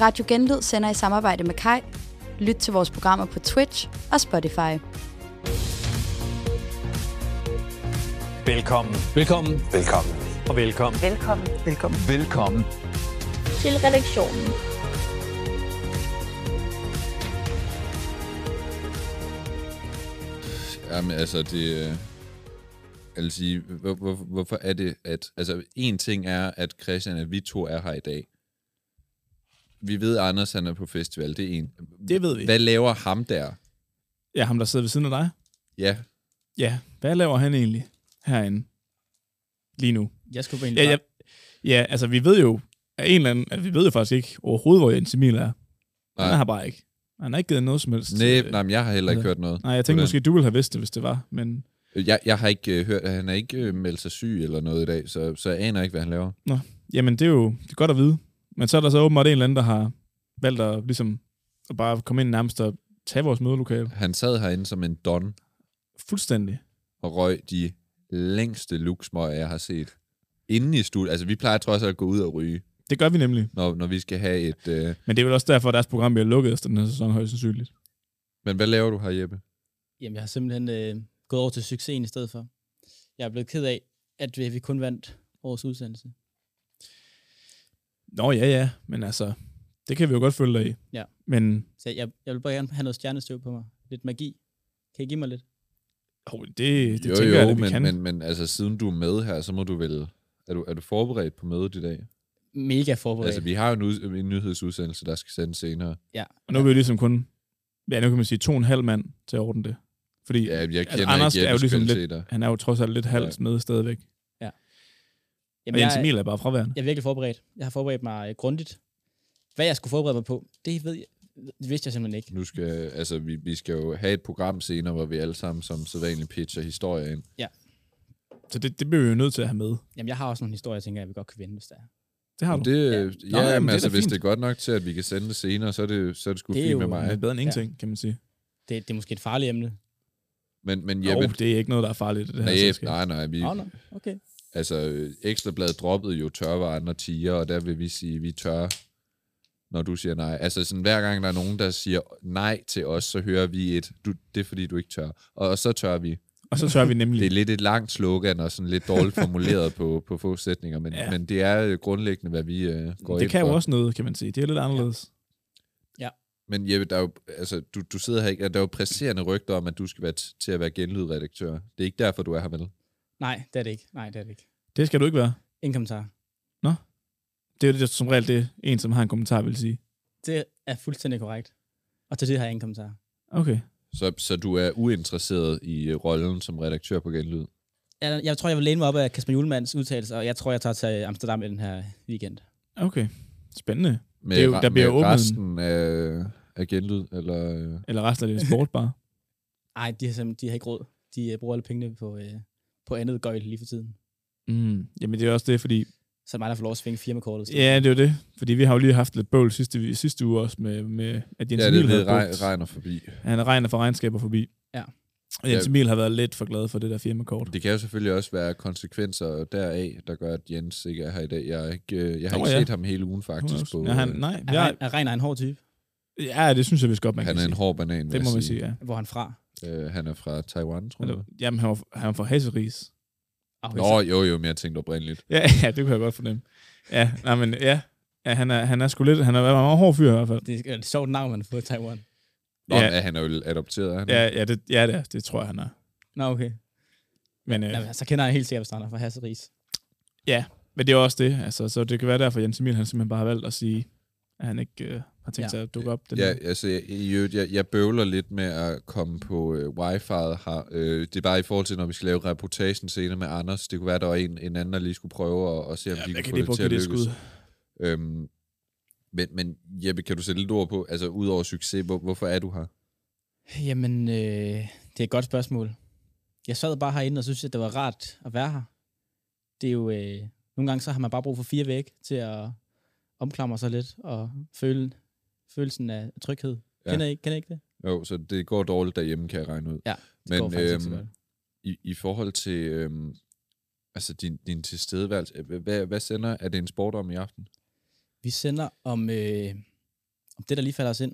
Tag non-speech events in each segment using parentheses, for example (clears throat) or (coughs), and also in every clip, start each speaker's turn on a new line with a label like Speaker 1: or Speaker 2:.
Speaker 1: Radio Genlyd sender i samarbejde med Kai. Lyt til vores programmer på Twitch og Spotify.
Speaker 2: Velkommen
Speaker 3: Velkommen.
Speaker 4: Velkommen.
Speaker 2: og velkommen.
Speaker 5: Velkommen.
Speaker 6: Velkommen.
Speaker 2: Velkommen.
Speaker 5: til redaktionen.
Speaker 7: Jamen, altså, det... øh, Jeg vil sige, hvor, hvor, hvorfor er det, at... Altså, en ting er, at Christian og vi to er her i dag. Vi ved, at Anders han er på festival. Det er en.
Speaker 3: Det ved vi.
Speaker 7: Hvad laver ham der?
Speaker 3: Ja, ham der sidder ved siden af dig.
Speaker 7: Ja,
Speaker 3: Ja, hvad laver han egentlig herinde lige nu?
Speaker 8: Jeg skulle egentlig
Speaker 3: Ja,
Speaker 8: bare...
Speaker 3: ja, ja altså vi ved jo, af en eller anden, at vi ved jo faktisk ikke overhovedet, hvor Jens Emil er. Han
Speaker 7: Nej.
Speaker 3: er her bare ikke. Han har ikke givet noget som helst.
Speaker 7: nej,
Speaker 3: øh,
Speaker 7: nej men jeg har heller ikke
Speaker 3: altså,
Speaker 7: hørt noget.
Speaker 3: Nej, jeg tænkte
Speaker 7: Hvordan?
Speaker 3: måske, du ville have vidst det, hvis det var. Men
Speaker 7: Jeg, jeg har ikke øh, hørt, at han er ikke øh, meldt sig syg eller noget i dag, så, så jeg aner ikke, hvad han laver.
Speaker 3: jamen, det er jo det er godt at vide. Men så er der så åbenbart en eller anden, der har valgt at, ligesom, at bare komme ind nærmest og tage vores mødelokale.
Speaker 7: Han sad herinde som en don
Speaker 3: Fuldstændig.
Speaker 7: og røg de længste luksmøger, jeg har set. Inden i studiet. Altså, vi plejer trods alt at gå ud og ryge,
Speaker 3: Det gør vi nemlig.
Speaker 7: når, når vi skal have et... Øh...
Speaker 3: Men det er vel også derfor, at deres program bliver lukket efter den her sæson, højst sandsynligt.
Speaker 7: Men hvad laver du her, Jeppe?
Speaker 8: Jamen, jeg har simpelthen øh, gået over til succesen i stedet for. Jeg er blevet ked af, at vi vi kun vandt årets udsendelse.
Speaker 3: Nå ja, ja, men altså, det kan vi jo godt følge dig i.
Speaker 8: Ja.
Speaker 3: Men
Speaker 8: Så jeg, jeg vil bare gerne have noget stjernestøv på mig. Lidt magi. Kan I give mig lidt?
Speaker 3: oh, det, det
Speaker 7: jo,
Speaker 3: tænker
Speaker 7: jo,
Speaker 3: jeg, at vi
Speaker 7: men,
Speaker 3: kan.
Speaker 7: men, men altså, siden du er med her, så må du vel... Er du, er du forberedt på mødet i dag?
Speaker 8: Mega forberedt.
Speaker 7: Altså, vi har jo en, ud, en nyhedsudsendelse, der skal sendes senere.
Speaker 3: Og nu er vi jo ligesom kun, ja, nu kan man sige to og en halv mand til at ordne det. Fordi
Speaker 7: Ja,
Speaker 3: ja,
Speaker 7: jeg kender
Speaker 3: altså, Anders
Speaker 7: ikke
Speaker 3: er jo
Speaker 7: Jeppes
Speaker 3: ligesom lidt-
Speaker 7: kvaliteter.
Speaker 3: han er jo trods alt lidt halvt med stadigvæk.
Speaker 8: Jamen,
Speaker 3: og Jens
Speaker 8: jeg,
Speaker 3: Emil er bare fraværende.
Speaker 8: jeg er virkelig forberedt. Jeg har forberedt mig øh, grundigt. Hvad jeg skulle forberede mig på, det ved jeg, det vidste jeg simpelthen ikke.
Speaker 7: Nu skal, altså, vi, vi skal jo have et program senere, hvor vi alle sammen som sædvanligt pitcher historier ind.
Speaker 3: Så det, det bliver vi jo nødt til at have med.
Speaker 8: Jamen, jeg har også nogle historier, jeg tænker, jeg vil godt kunne vinde, hvis der er.
Speaker 3: Det har du. Det,
Speaker 7: Det,
Speaker 8: Ja.
Speaker 7: ja,
Speaker 3: Nå,
Speaker 7: ja
Speaker 3: jamen,
Speaker 7: men
Speaker 3: det er
Speaker 7: altså,
Speaker 3: da
Speaker 7: hvis
Speaker 3: fint.
Speaker 7: det er godt nok til, at vi kan sende det senere, så er det, så er det sgu
Speaker 8: Det er
Speaker 7: fint
Speaker 8: jo
Speaker 7: med
Speaker 3: det er
Speaker 7: mig.
Speaker 3: bedre end ingenting, ja. kan man sige.
Speaker 8: Det, det er måske et farligt emne.
Speaker 7: Men, men
Speaker 3: Jo,
Speaker 7: Jeppe,
Speaker 3: oh, det er ikke noget, der er altså farligt i det her
Speaker 7: nej,
Speaker 3: selskab.
Speaker 7: nej, nej, vi,
Speaker 8: Nå, nå, okay.
Speaker 7: altså, Ekstrabladet droppede jo tørvaren og tiger, og der vil vi sige, vi tør, når du siger nej. Altså sådan, hver gang der er nogen, der siger nej til os, så hører vi et, du, det er fordi, du ikke tør. Og, og så tør vi.
Speaker 3: Og så tør vi nemlig.
Speaker 7: (laughs) Det er lidt et langt slogan, og sådan lidt dårligt
Speaker 3: (laughs)
Speaker 7: formuleret på, på få sætninger, men,
Speaker 3: Ja.
Speaker 7: ja. men det er øh, grundlæggende, hvad vi øh, går
Speaker 3: det,
Speaker 7: ind
Speaker 3: det kan
Speaker 7: for.
Speaker 3: jo også noget, kan man sige. Det er lidt anderledes.
Speaker 7: Men Jeppe, der er jo, altså, du, du sidder her ikke, og der er jo presserende rygter om, at du skal være t- til at være genlydredaktør. Det er ikke derfor, du er her, vel?
Speaker 8: Nej, det er det ikke. Nej, det er det ikke.
Speaker 3: Det skal du ikke være.
Speaker 8: Ingen kommentar.
Speaker 3: Det er jo det, som regel det, en, som har en kommentar, vil sige.
Speaker 8: Det er fuldstændig korrekt. Og til det har jeg ingen kommentar.
Speaker 3: Okay.
Speaker 7: Så, så du er uinteresseret i øh, rollen som redaktør på Genlyd?
Speaker 8: Jeg, jeg tror, jeg vil læne mig op af Kasper Julemands udtalelse, og jeg tror, jeg tager til Amsterdam i den her weekend.
Speaker 3: Okay. Spændende.
Speaker 7: med,
Speaker 3: Det er jo-
Speaker 7: re-
Speaker 3: der bliver
Speaker 7: med
Speaker 3: åbnet en-
Speaker 7: resten af, af genlyd, eller... øh,
Speaker 3: Eller resten af det er sport bare.
Speaker 8: Ej, de har, simpelthen, de har ikke råd. De øh, bruger alle pengene på, øh, på andet gøjl lige for tiden.
Speaker 3: Mm. Jamen, det er også det, fordi
Speaker 8: Så er det mig, der får lov at svinge firmakortet.
Speaker 3: Ja, det er jo det. Fordi vi har jo lige haft lidt bøvl sidste, sidste uge også med, med at Jens
Speaker 7: Ja, det
Speaker 3: Emil havde
Speaker 7: ved reg,
Speaker 3: brugt-
Speaker 7: regner forbi.
Speaker 3: Han regner for regnskaber forbi.
Speaker 8: Ja.
Speaker 3: Og Jens
Speaker 7: Ja.
Speaker 3: Emil har været lidt for glad for det der firmakort.
Speaker 7: Det kan jo selvfølgelig også være konsekvenser deraf, der gør, at Jens ikke er her i dag. Jeg har ikke, øh, jeg har
Speaker 3: Nå,
Speaker 7: ikke
Speaker 3: ja.
Speaker 7: set ham hele ugen faktisk. På,
Speaker 3: ja, han,
Speaker 7: øh,
Speaker 3: nej,
Speaker 8: Er,
Speaker 3: ja,
Speaker 8: ja. er Reiner en hård type?
Speaker 3: ja, det synes jeg vist godt, man
Speaker 7: han
Speaker 3: kan
Speaker 7: er en
Speaker 3: sige.
Speaker 7: hård banan, vil
Speaker 3: Det
Speaker 7: jeg
Speaker 3: må man sige, ja.
Speaker 8: Hvor er han fra?
Speaker 7: Øh, han er fra Taiwan, tror jeg.
Speaker 3: Eller, jamen, han var, han var fra Hasseris.
Speaker 8: Oh,
Speaker 7: Nå, jo, jo, men jeg tænkte oprindeligt.
Speaker 3: Ja, (laughs) ja, det kunne jeg godt fornemme. Ja, nej, men ja. ja han, er, han er sgu lidt, han er en meget hård fyr i hvert fald.
Speaker 8: Det er et sjovt navn, man har fået i Taiwan.
Speaker 7: Nå,
Speaker 3: Ja.
Speaker 7: ja. men, han er jo adopteret, er han? ikke?
Speaker 3: Ja, ja, det, ja, det, er- det tror jeg, han er.
Speaker 8: Nå, okay.
Speaker 3: Men, øh,
Speaker 8: Ja. Jamen, så kender jeg helt sikkert, hvis han er fra Hasseris.
Speaker 3: men det er også det. Altså, så det kan være derfor, at Jens Emil han simpelthen bare har valgt at sige, at han ikke øh, har tænkt
Speaker 8: Ja.
Speaker 3: sig at dukke op. Den
Speaker 7: Ja,
Speaker 3: her.
Speaker 7: altså, jeg, i øvrigt, jeg, jeg bøvler lidt med at komme på øh, wifi'et her. Øh, det er bare i forhold til, når vi skal lave reportagen senere med Anders. Det kunne være, der var en, en anden, der lige skulle prøve at, at se, om ja, de
Speaker 3: jeg kan
Speaker 7: kunne få
Speaker 3: lige
Speaker 7: det
Speaker 3: prøve
Speaker 7: til
Speaker 3: at
Speaker 7: at
Speaker 3: give det
Speaker 7: lykkes.
Speaker 3: et skud.
Speaker 7: Øhm, men, men Jeppe, kan du sætte lidt ord på, altså ud over succes, hvor, hvorfor er du her?
Speaker 8: Jamen, øh, det er et godt spørgsmål. Jeg sad bare herinde og synes, at det var rart at være her. Det er jo, øh, nogle gange så har man bare brug for fire væg til at omklamre sig lidt og føle følelsen af tryghed. Ja.
Speaker 7: Ja.
Speaker 8: Kender, I, kender I ikke det?
Speaker 7: Jo, så det går dårligt derhjemme, kan jeg regne ud.
Speaker 8: Ja, det går
Speaker 7: men
Speaker 8: faktisk ikke så godt.
Speaker 7: øhm, i, i forhold til øhm, altså din, din tilstedeværelse, øh, hvad, hvad sender er det en sport om i aften?
Speaker 8: Vi sender om øh, om det, der lige falder os ind.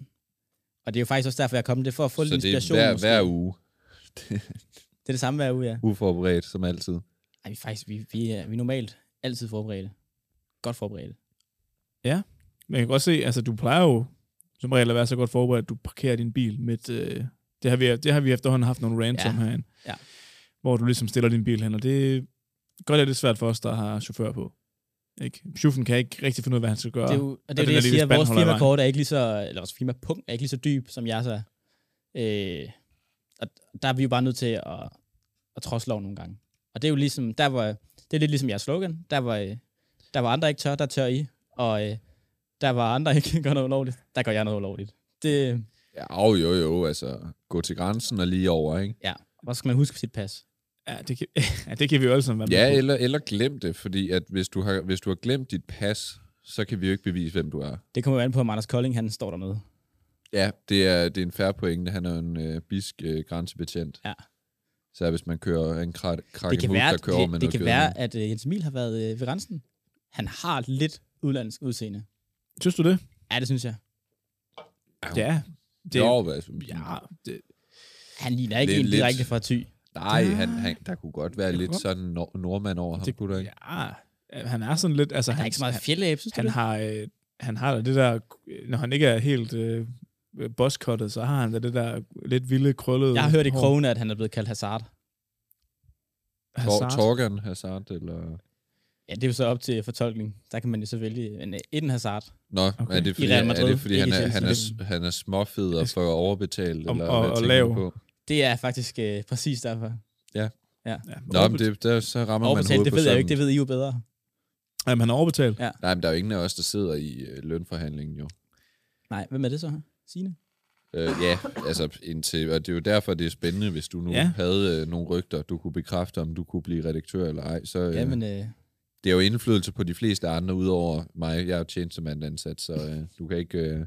Speaker 8: Og det er jo faktisk også derfor, jeg er kommet. Det er for at få lidt
Speaker 7: Så det er
Speaker 8: inspiration.
Speaker 7: hver,
Speaker 8: måske.
Speaker 7: hver uge,
Speaker 8: det er det samme hver uge, ja.
Speaker 7: uforberedt som altid.
Speaker 8: Ej, vi, er faktisk, vi, vi, er, vi er normalt altid forberedte. Godt forberedte.
Speaker 3: Men jeg kan godt se, altså du plejer jo som regel at være så godt forberedt, at du parkerer din bil med et, øh, det, har vi, det har vi efterhånden haft nogle rants
Speaker 8: Ja.
Speaker 3: ja. om herinde,
Speaker 8: Ja.
Speaker 3: hvor du ligesom stiller din bil hen, og det er godt er det svært for os, der har chauffør på. Ikke? Chefen kan ikke rigtig finde ud af, hvad han skal gøre.
Speaker 8: Det er jo, og det,
Speaker 3: den
Speaker 8: er jo det
Speaker 3: der
Speaker 8: jeg
Speaker 3: lille
Speaker 8: siger,
Speaker 3: spand
Speaker 8: vores
Speaker 3: holder i vejen.
Speaker 8: firmakort er ikke lige så, eller vores firmapunkt er ikke lige så dyb, som jeg så er. Øh, og der er vi jo bare nødt til at, at trods lov nogle gange. Og det er jo ligesom, der var, det er lidt ligesom jeres slogan, der var, øh, der var andre ikke tør, der tør I, og øh, der var andre (laughs) ikke gør noget ulovligt, der gør jeg noget ulovligt. Det,
Speaker 7: Ja, au, jo, jo, altså gå til grænsen og lige over, ikke?
Speaker 8: ja, hvor skal man huske sit pas?
Speaker 3: Ja, det kan, (laughs) ja, det kan vi jo alle sammen være med
Speaker 7: Ja,
Speaker 3: på.
Speaker 7: eller, eller glem det, fordi at hvis, du har, hvis du har glemt dit pas, så kan vi jo ikke bevise, hvem du er.
Speaker 8: Det kommer jo an på, om Anders Kolding, han står dernede.
Speaker 7: Ja, det er, det er en færre pointe. Han er jo en øh, bisk øh, grænsebetjent.
Speaker 8: Ja.
Speaker 7: Så hvis man kører en krak, krakke
Speaker 8: det kan være,
Speaker 7: der kører over
Speaker 8: det,
Speaker 7: med
Speaker 8: det,
Speaker 7: noget
Speaker 8: det kan
Speaker 7: gødning.
Speaker 8: være at øh, Jens Emil har været øh, ved grænsen. Han har lidt udlandsk udseende.
Speaker 3: Synes du det?
Speaker 8: Ja, det synes jeg.
Speaker 3: Ja. Det,
Speaker 7: jo, altså,
Speaker 3: Ja, det,
Speaker 8: Han ligner ikke
Speaker 7: Lidt-
Speaker 8: en
Speaker 7: lidt.
Speaker 8: direkte fra Thy.
Speaker 7: Nej, han, han, der kunne godt være
Speaker 3: Det
Speaker 7: lidt
Speaker 3: kunne
Speaker 7: sådan nor- nordmand over ham,
Speaker 3: det,
Speaker 7: kunne der ikke?
Speaker 3: ja, han er sådan lidt... Altså,
Speaker 8: Der er ikke så meget fjellæb, synes
Speaker 3: han,
Speaker 8: du
Speaker 3: han
Speaker 8: det?
Speaker 3: har, øh, han har da det der... Når han ikke er helt øh, boskottet, så har han da det der lidt vilde, krøllede...
Speaker 8: Jeg har hørt i
Speaker 3: hår.
Speaker 8: krogene, at han er blevet kaldt Hazard.
Speaker 7: Tor-
Speaker 3: Hazard.
Speaker 7: Torgan Hazard, eller...
Speaker 8: Ja, det er jo så op til fortolkning. Der kan man jo så vælge en, en Hazard.
Speaker 7: Nå,
Speaker 3: Okay.
Speaker 7: er det fordi,
Speaker 8: I Real
Speaker 7: han, er
Speaker 8: Madrid,
Speaker 7: det, fordi han,
Speaker 8: ikke i
Speaker 7: er, han,
Speaker 8: Chelsea.
Speaker 7: er, s- han er småfed og
Speaker 3: Jeg skal-
Speaker 7: for overbetalt?
Speaker 3: Om-
Speaker 7: eller
Speaker 3: og-
Speaker 7: hvad
Speaker 3: og
Speaker 7: tænker
Speaker 3: lav.
Speaker 7: du på?
Speaker 8: Det er faktisk øh, præcis derfor.
Speaker 3: Ja,
Speaker 7: Nå, men det, der, så rammer man
Speaker 8: Overbetalt,
Speaker 7: hovedet
Speaker 8: det
Speaker 7: på
Speaker 8: ved jeg jo
Speaker 7: sømmen.
Speaker 8: ikke. Det ved I jo bedre.
Speaker 3: Jamen, han er overbetalt.
Speaker 8: Ja.
Speaker 7: Nej, men der er jo ingen af os, der sidder i øh, lønforhandlingen jo.
Speaker 8: Nej, hvem er det så? Signe?
Speaker 7: Øh, ja, altså indtil, og det er jo derfor, det er spændende, hvis du nu
Speaker 3: Ja.
Speaker 7: ja. havde øh, nogle rygter, du kunne bekræfte, om du kunne blive redaktør eller ej. Så øh,
Speaker 8: Ja. Jamen, øh,
Speaker 7: det er jo indflydelse på de fleste andre, udover mig. Jeg er jo tjenestemand ansat, så øh, du kan ikke... Øh,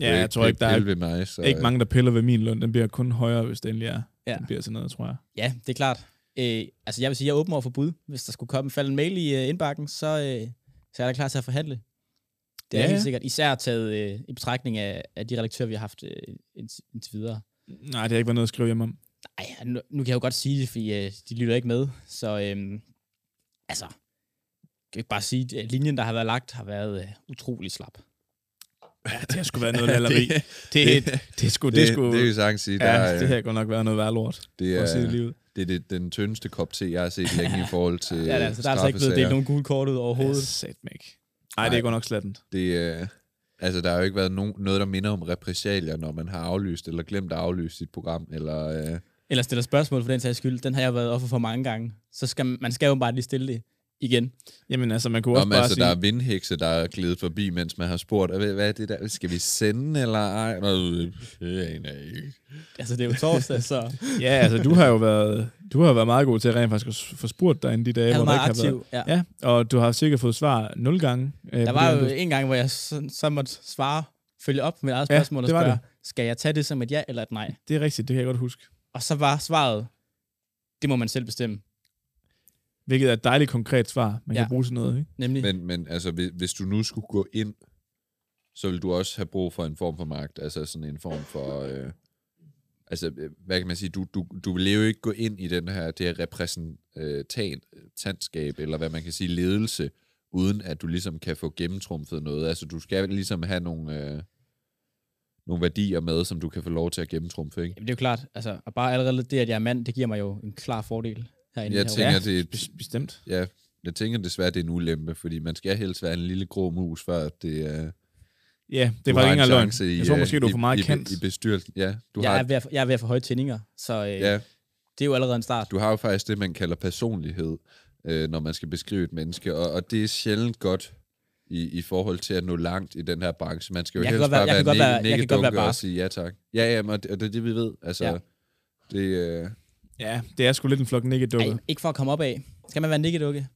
Speaker 3: Ja, jeg tror ikke, der er
Speaker 7: ved mig, så, øh,
Speaker 3: ikke
Speaker 7: (laughs)
Speaker 3: mange, der piller ved min løn. Den bliver kun højere, hvis det endelig er.
Speaker 8: Ja.
Speaker 3: Den bliver til noget, tror jeg.
Speaker 8: ja, det er klart. Øh, altså, jeg vil sige, jeg er åben over for bud. Hvis der skulle komme falde en mail i øh, indbakken, så, øh, så er jeg da klar til at forhandle. Det
Speaker 3: Ja,
Speaker 8: er ja. helt
Speaker 3: ja.
Speaker 8: sikkert. Især taget øh, i betragtning af, af de redaktører, vi har haft øh, indtil, indtil videre.
Speaker 3: Nej, det har ikke været noget at skrive hjem om.
Speaker 8: Ej, nu, nu kan jeg jo godt sige det, fordi øh, de lytter ikke med. Så øhm, altså, jeg kan ikke bare sige, at linjen, der har været lagt, har været øh, utrolig slap.
Speaker 3: Ja, det har sgu været noget
Speaker 7: (laughs)
Speaker 3: lalleri. det, det,
Speaker 7: det,
Speaker 3: det, skulle,
Speaker 7: det,
Speaker 3: det,
Speaker 7: det,
Speaker 3: skulle,
Speaker 7: det, det kan jeg sagtens sige. Der,
Speaker 3: ja,
Speaker 7: ja,
Speaker 3: det her godt nok været noget værre lort.
Speaker 7: det
Speaker 3: For at sige
Speaker 7: er,
Speaker 3: det livet.
Speaker 7: det er det, den tyndeste kop te, jeg har set længe i forhold til øh,
Speaker 8: Ja, der, er altså, der er altså ikke blevet delt nogen gule kort ud overhovedet. Yes.
Speaker 3: Sat mig ikke. Nej, det er godt nok slattent.
Speaker 7: Det, øh, altså, der har jo ikke været nogen, noget, der minder om repressalier, når man har aflyst eller glemt at aflyse sit program. Eller, øh,
Speaker 8: Eller stiller spørgsmål for den sags skyld. Den har jeg været offer for mange gange. Så skal man, man skal jo bare lige stille det igen.
Speaker 3: Jamen altså, man kunne også
Speaker 7: om,
Speaker 3: bare
Speaker 7: altså, der
Speaker 3: sige...
Speaker 7: er vindhekse, der er glædet forbi, mens man har spurgt, "Hvad- hvad er det der? Skal vi sende, eller ej? Nå, øh, jeg aner ikke.
Speaker 3: (laughs)
Speaker 8: Altså, det er jo torsdag, så
Speaker 3: Ja, altså, du har jo været, du har været meget god til rent faktisk at s- få spurgt dig inden de dage,
Speaker 8: jeg
Speaker 3: hvor
Speaker 8: er
Speaker 3: du ikke har
Speaker 8: meget
Speaker 3: været.
Speaker 8: aktiv. Ja.
Speaker 3: Ja, og du har sikkert fået svar nul gange. Øh,
Speaker 8: Der
Speaker 3: på
Speaker 8: var
Speaker 3: det,
Speaker 8: jo
Speaker 3: du-
Speaker 8: en gang, hvor jeg så, så måtte svare, følge op med et eget
Speaker 3: Ja,
Speaker 8: spørgsmål og
Speaker 3: det var
Speaker 8: spørge, skal jeg tage det som et ja eller et nej?
Speaker 3: Det er rigtigt, det kan jeg godt huske.
Speaker 8: Og så var svaret, det må man selv bestemme.
Speaker 3: Hvilket er et dejligt konkret svar, man ja.
Speaker 8: Ja.
Speaker 3: kan bruge til noget, ikke?
Speaker 8: Nemlig,
Speaker 7: Men, men altså, hvis, hvis du nu skulle gå ind, så vil du også have brug for en form for magt, altså sådan en form for... Øh, altså, øh, hvad kan man sige? Du, du, du vil jo ikke gå ind i den her, det her repræsentantskab, eller hvad man kan sige, ledelse, uden at du ligesom kan få gennemtrumfet noget. Altså, du skal ligesom have nogle... Øh, nogle værdier med, som du kan få lov til at gennemtrumfe, ikke?
Speaker 8: Jamen, det er jo klart. Altså, og bare allerede det, at jeg er mand, det giver mig jo en klar fordel herinde.
Speaker 7: Jeg
Speaker 8: her.
Speaker 7: tænker, det er et-
Speaker 3: bes- bestemt.
Speaker 7: Ja, jeg tænker desværre, det er en ulempe, fordi man skal helst være en lille grå mus, før det er... Øh,
Speaker 3: Ja, det
Speaker 7: du
Speaker 3: var ikke
Speaker 7: har en
Speaker 3: engang løgn.
Speaker 7: chance i,
Speaker 3: jeg tror
Speaker 7: øh,
Speaker 3: måske, du er for meget
Speaker 7: i,
Speaker 3: kendt.
Speaker 7: I, i bestyrelsen, ja. Du
Speaker 8: jeg,
Speaker 7: har,
Speaker 8: er ved at, jeg er ved at få høje tændinger, så øh, ja.
Speaker 7: ja,
Speaker 8: det er jo allerede en start.
Speaker 7: du har jo faktisk det, man kalder personlighed, øh, når man skal beskrive et menneske, og, og det er sjældent godt i, i forhold til at nå langt i den her branche. Man skal jo
Speaker 8: Jeg kan
Speaker 7: helst
Speaker 8: godt være-
Speaker 7: bare
Speaker 8: jeg kan godt være-
Speaker 7: være
Speaker 8: jeg kan godt være
Speaker 7: nikkedunker og
Speaker 8: barsk.
Speaker 7: sige ja tak. Ja, ja, men og det, og det er det, vi ved. Altså,
Speaker 8: Ja.
Speaker 7: ja. det, øh,
Speaker 3: Ja, det er sgu lidt en flok nikkedukker.
Speaker 8: Ej, ikke for at komme op af. Skal man være nikkedukke?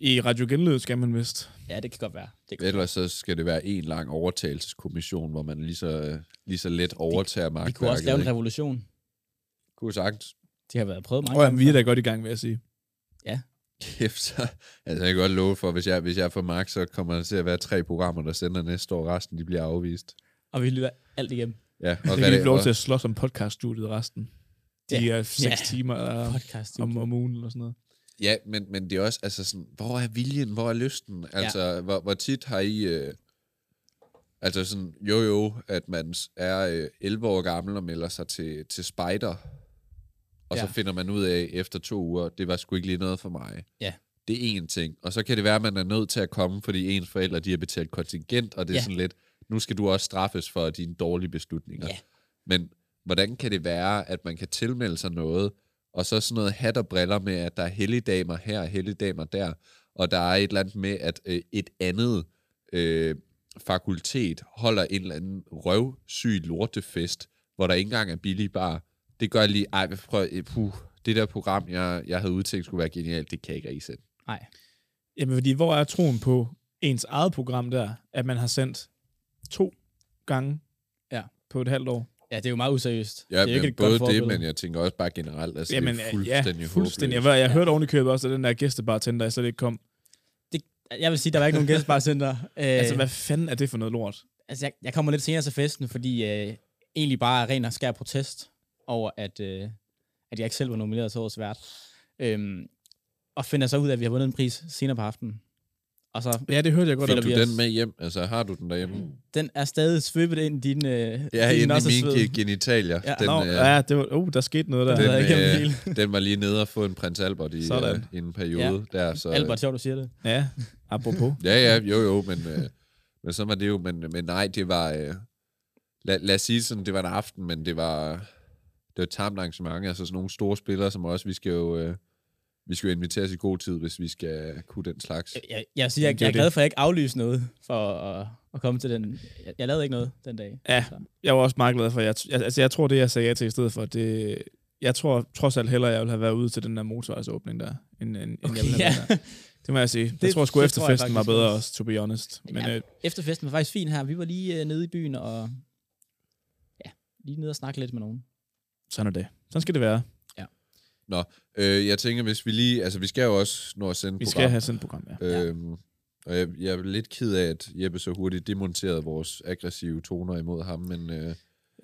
Speaker 3: I Radio Genlyd skal man vist.
Speaker 8: Ja, det kan godt være. Det kan
Speaker 7: ellers så skal det være en lang overtagelseskommission, hvor man lige så, lige så let overtager magtværket.
Speaker 8: Vi kunne også lave en
Speaker 7: ikke?
Speaker 8: revolution.
Speaker 7: kunne sagtens.
Speaker 8: Det har været prøvet mange
Speaker 3: Åh,
Speaker 8: gange.
Speaker 3: jamen, vi er da godt i gang, vil jeg sige.
Speaker 7: Kæft, så, altså jeg kan godt love for, hvis jeg, hvis jeg får magt, så kommer der til at være tre programmer, der sender næste år. Resten, de bliver afvist.
Speaker 8: Og vi lytter alt igennem.
Speaker 7: Ja, og
Speaker 3: Så kan de få lov til at slås om podcaststudiet resten. De
Speaker 8: Ja.
Speaker 3: er seks
Speaker 8: Ja.
Speaker 3: timer eller
Speaker 8: Podcast.
Speaker 3: om, om ugen eller sådan noget.
Speaker 7: Ja, men, men det er også, altså sådan, hvor er viljen, hvor er lysten? Altså, ja. hvor, hvor tit har I, øh, altså sådan, jo jo, at man s- er øh, 11 år gammel og melder sig til, til spider, og ja.
Speaker 8: Ja.
Speaker 7: så finder man ud af efter to uger, det var sgu ikke lige noget for mig.
Speaker 8: Ja.
Speaker 7: Det er én ting. Og så kan det være, at man er nødt til at komme, fordi ens forældre, de har betalt kontingent, og det er ja.
Speaker 8: Ja.
Speaker 7: sådan lidt, nu skal du også straffes for dine dårlige beslutninger.
Speaker 8: Ja.
Speaker 7: Men hvordan kan det være, at man kan tilmelde sig noget, og så sådan noget hat og briller med, at der er helligdamer her og helligdamer der, og der er et eller andet med, at øh, et andet øh, fakultet holder en eller anden røvsyg lortefest, hvor der ikke engang er billig bar. Det gør jeg lige, ej, hvad- prøv, øh, puh, det der program, jeg, jeg havde udtænkt skulle være genialt, det kan jeg ikke rigtig sætte.
Speaker 8: Nej.
Speaker 3: Jamen, fordi hvor er troen på ens eget program der, at man har sendt to gange
Speaker 8: Ja.
Speaker 3: på et halvt år?
Speaker 7: Altså,
Speaker 8: Ja, det er jo meget useriøst.
Speaker 7: Ja,
Speaker 8: det er jo
Speaker 7: men
Speaker 8: et
Speaker 7: både
Speaker 8: godt
Speaker 7: det,
Speaker 8: forbillede.
Speaker 7: men jeg tænker også bare generelt, altså Jamen,
Speaker 3: Jamen,
Speaker 7: det er
Speaker 3: ja,
Speaker 7: fuldstændig,
Speaker 3: ja, fuldstændig. Jeg,
Speaker 7: håbløst.
Speaker 3: ved- jeg hørte ovenikøbet også, at den der gæstebartender, jeg slet ikke kom.
Speaker 8: Øh. Jeg vil sige, der var ikke nogen
Speaker 7: (laughs)
Speaker 8: gæstbarcenter. Øh,
Speaker 3: Altså, hvad fanden er det for noget lort?
Speaker 8: altså jeg, jeg kommer lidt senere til festen, fordi øh, egentlig bare ren og skær protest over, at, øh, at jeg ikke selv var nomineret til årets vært. Øhm, og finder så ud af, at vi har vundet en pris senere på aftenen. Og så,
Speaker 3: Ja, det hørte jeg godt.
Speaker 8: Fedt.
Speaker 7: Finder
Speaker 3: om.
Speaker 7: du
Speaker 8: vi os.
Speaker 7: den med hjem? Altså, har du den derhjemme?
Speaker 8: den er stadig svøbet ind i din... Øh,
Speaker 7: Ja,
Speaker 8: din
Speaker 7: inde i
Speaker 8: nossersved.
Speaker 7: min ge- genitalier.
Speaker 8: Ja,
Speaker 7: den,
Speaker 3: Nå,
Speaker 7: øh,
Speaker 3: ja, det var, oh, der skete noget der.
Speaker 8: Den havde jeg igennem
Speaker 7: den,
Speaker 8: hele.
Speaker 7: øh, (laughs) den var lige nede og få en prins Albert i,
Speaker 3: Sådan.
Speaker 7: øh, i en periode. Ja. Der, så, øh,
Speaker 8: Albert, sjovt, du siger det.
Speaker 3: Ja, apropos.
Speaker 7: Ja, ja, jo, jo, men, øh, men så var det jo, men, men nej, det var, øh, lad, lad os sige sådan, det var en aften, men det var, det var et tamt arrangement, altså sådan nogle store spillere som os, vi skal jo, øh, vi skal jo inviteres i god tid, hvis vi skal kunne den slags.
Speaker 8: Jeg, jeg, jeg, siger,
Speaker 3: Jamen,
Speaker 8: jeg,
Speaker 3: det er
Speaker 8: jeg er
Speaker 3: jo
Speaker 8: glad
Speaker 3: det.
Speaker 8: for, at jeg ikke aflyste noget for at, at komme til den. Jeg, jeg lavede ikke noget den dag.
Speaker 3: Ja, jeg var også meget glad for, jeg, jeg, altså, jeg tror, det jeg sagde ja til i stedet for, det, jeg tror trods alt hellere, jeg ville have været ude til den der motorvejsåbning der, end, end, end jeg ville have
Speaker 8: ja.
Speaker 3: været der. Det må jeg sige. Det, jeg
Speaker 8: Det-
Speaker 3: tror sgu
Speaker 8: det
Speaker 3: efter
Speaker 8: tror jeg
Speaker 3: festen var
Speaker 8: faktisk
Speaker 3: bedre
Speaker 8: også.
Speaker 3: også, to be honest. Men
Speaker 8: Ja.
Speaker 3: ja. øh,
Speaker 8: Efterfesten var faktisk fin her. Vi var lige øh, nede i byen og... Ja, lige nede og snakke lidt med nogen.
Speaker 3: sådan er det. Sådan skal det være.
Speaker 7: Øh, jeg tænker, hvis vi lige, altså vi skal jo også nå at sende
Speaker 3: Vi
Speaker 7: program.
Speaker 3: skal have sådan et program, ja.
Speaker 8: Ja.
Speaker 7: Øhm, og jeg, jeg er lidt ked af, at Jeppe så hurtigt demonterede vores aggressive toner imod ham, men øh,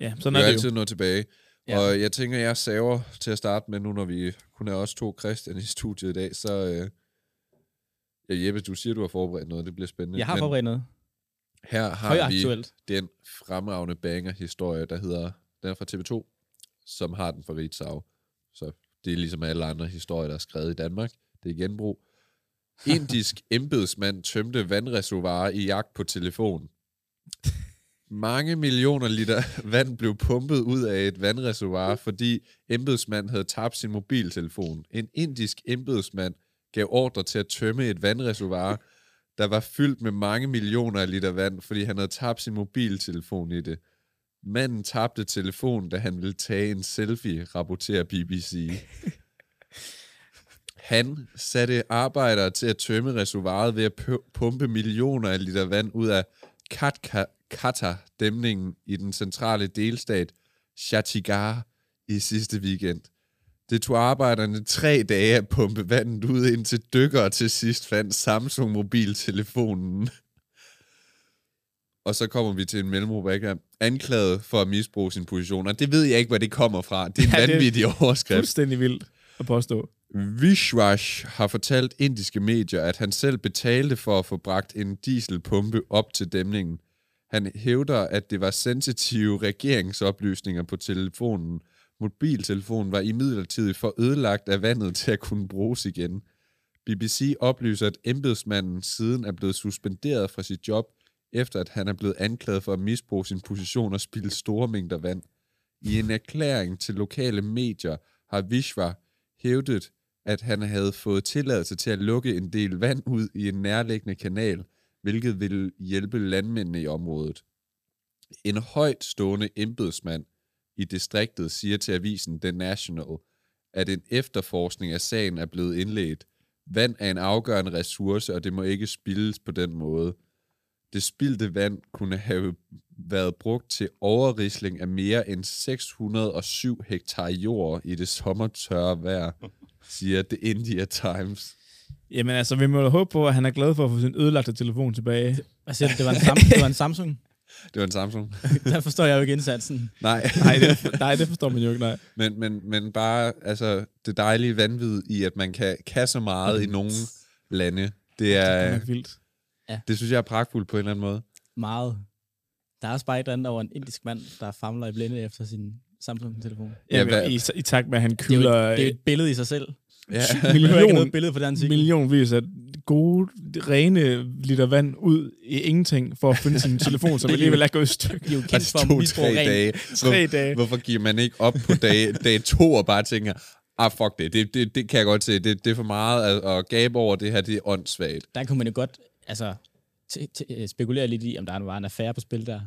Speaker 3: Ja,
Speaker 7: vi
Speaker 3: sådan
Speaker 7: er
Speaker 3: er
Speaker 7: jo
Speaker 3: det jo.
Speaker 7: altid nået tilbage. Ja.
Speaker 8: Ja.
Speaker 7: Og jeg tænker, jeg saver til at starte med nu, når vi kun er os to Christian i studiet i dag, så... Øh, ja, Jeppe, du siger, du har forberedt noget, det bliver spændende.
Speaker 8: Jeg har
Speaker 7: Men
Speaker 8: forberedt noget.
Speaker 7: Her har vi
Speaker 8: Højaktuelt.
Speaker 7: den fremragende banger-historie, der hedder... Den er fra TV2, som har den fra Ritzau. Så det er ligesom alle andre historier, der er skrevet i Danmark. Det er genbrug. Indisk embedsmand tømte vandreservoirer i jagt på telefon. Mange millioner liter (laughs) vand blev pumpet ud af et vandreservoir, fordi embedsmanden havde tabt sin mobiltelefon. En indisk embedsmand gav ordre til at tømme et vandreservoir, der var fyldt med mange millioner af liter vand, fordi han havde tabt sin mobiltelefon i det. Manden tabte telefonen, da han ville tage en selfie, rapporterer BBC. Han satte arbejdere til at tømme reservoiret ved at pu- pumpe millioner af liter vand ud af Katka-dæmningen i den centrale delstat Chattigar i sidste weekend. Det tog arbejderne tre dage at pumpe vandet ud, indtil dykkere til sidst fandt Samsung-mobiltelefonen. Og så kommer vi til en mellemrum, ikke? anklaget for at misbruge sin position. Og det ved jeg ikke, hvor det kommer fra. Det er en
Speaker 3: Ja,
Speaker 7: ja,
Speaker 3: det-
Speaker 7: vanvittig overskrift.
Speaker 3: Fuldstændig vildt at påstå.
Speaker 7: Vishwash har fortalt indiske medier, at han selv betalte for at få bragt en dieselpumpe op til dæmningen. Han hævder, at det var sensitive regeringsoplysninger på telefonen. Mobiltelefonen var imidlertid for ødelagt af vandet til at kunne bruges igen. BBC oplyser, at embedsmanden siden er blevet suspenderet fra sit job, efter at han er blevet anklaget for at misbruge sin position og spilde store mængder vand. I en erklæring til lokale medier har Vishwa hævdet, at han havde fået tilladelse til at lukke en del vand ud i en nærliggende kanal, hvilket ville hjælpe landmændene i området. En højtstående embedsmand i distriktet siger til avisen The National, at en efterforskning af sagen er blevet indledt. Vand er en afgørende ressource, og det må ikke spildes på den måde. Det spildte vand kunne have været brugt til overrisling af mere end 607 hektar jord i det sommertørre vejr, siger The India Times.
Speaker 3: Jamen altså, vi må jo håbe på, at han er glad for at få sin ødelagte telefon tilbage.
Speaker 8: Hvad siger du? Det var en, sam- det var en Samsung?
Speaker 7: Det var en Samsung.
Speaker 8: Der forstår jeg jo ikke indsatsen.
Speaker 7: Nej.
Speaker 3: Nej, det, nej, det forstår man jo ikke, nej.
Speaker 7: Men, men, men bare altså, det dejlige vanvid i, at man kan, kan så meget i nogle lande. Det,
Speaker 3: Det er
Speaker 7: er,
Speaker 3: nok vildt.
Speaker 7: det synes jeg er pragtfuldt på en eller anden måde.
Speaker 8: Meget. Der er også bare et eller andet over en indisk mand, der famler i blinde efter sin Samsung-telefon.
Speaker 7: Ja,
Speaker 3: Jamen,
Speaker 7: hvad-
Speaker 3: i, I takt med, at han
Speaker 8: Det er, jo,
Speaker 3: kylder
Speaker 8: et- det er jo et billede i sig selv.
Speaker 7: (laughs) Ja.
Speaker 8: Vi behøver ikke noget
Speaker 3: million,
Speaker 8: billede på den artikel.
Speaker 3: millionvis af gode, rene liter vand ud i ingenting for at finde
Speaker 8: (laughs)
Speaker 3: sin telefon, som alligevel er gået i stykker.
Speaker 8: De er jo
Speaker 7: Og
Speaker 8: kendt for at misbruge rent.
Speaker 3: Tre dage.
Speaker 7: Hvorfor giver man ikke op på dag, dag to og bare tænker, ah fuck det, det, det, det kan jeg godt se, det, det er for meget at, at gabe over det her, det er åndssvagt.
Speaker 8: Der kunne man jo godt altså, t- t- øh, spekulere lidt i, om der var en affære på spil der.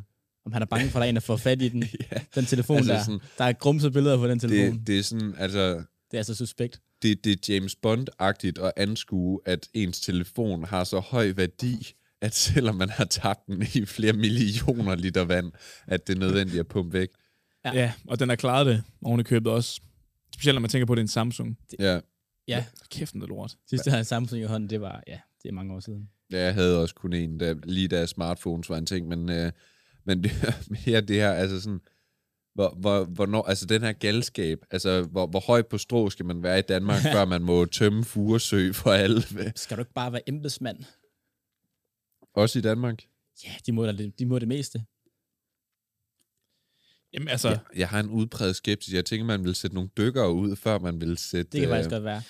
Speaker 8: Om han er bange for, at der er en, der får fat i den, ja. den telefon
Speaker 7: Altså
Speaker 8: altså, der.
Speaker 7: sådan-
Speaker 8: Sådan, der er grumset billeder på den telefon.
Speaker 7: Det,
Speaker 8: Det,
Speaker 7: det er sådan, altså,
Speaker 8: det er altså suspekt.
Speaker 7: det, det er James Bond-agtigt at anskue, at ens telefon har så høj værdi, at selvom man har tabt den i flere millioner liter vand, at det er nødvendigt at pumpe væk.
Speaker 8: Ja.
Speaker 3: Ja, og den har klaret det oven i købet også. Specielt når man tænker på, at det er en Samsung.
Speaker 7: Ja,
Speaker 8: Ja,
Speaker 3: Kæft, den er lort.
Speaker 8: sidst jeg havde en Samsung i hånden, det var, ja, det er mange år siden.
Speaker 7: Ja, jeg havde også kun en, der, lige da smartphones var en ting, men, øh, men (laughs) det, mere det her, altså sådan, hvor, hvor, hvornår, altså den her galskab, altså hvor, hvor højt på strå skal man være i
Speaker 8: (laughs)
Speaker 7: Danmark, før man må tømme Furesø for alle,
Speaker 8: Skal du ikke bare være embedsmand?
Speaker 7: også i Danmark?
Speaker 8: Ja, de må, da det- de må det meste.
Speaker 3: Jamen altså,
Speaker 7: Ja. Jeg har en udpræget skepsis, jeg tænker, man vil sætte nogle dykkere ud, før man vil sætte...
Speaker 8: Det kan
Speaker 7: øh,
Speaker 8: faktisk godt være.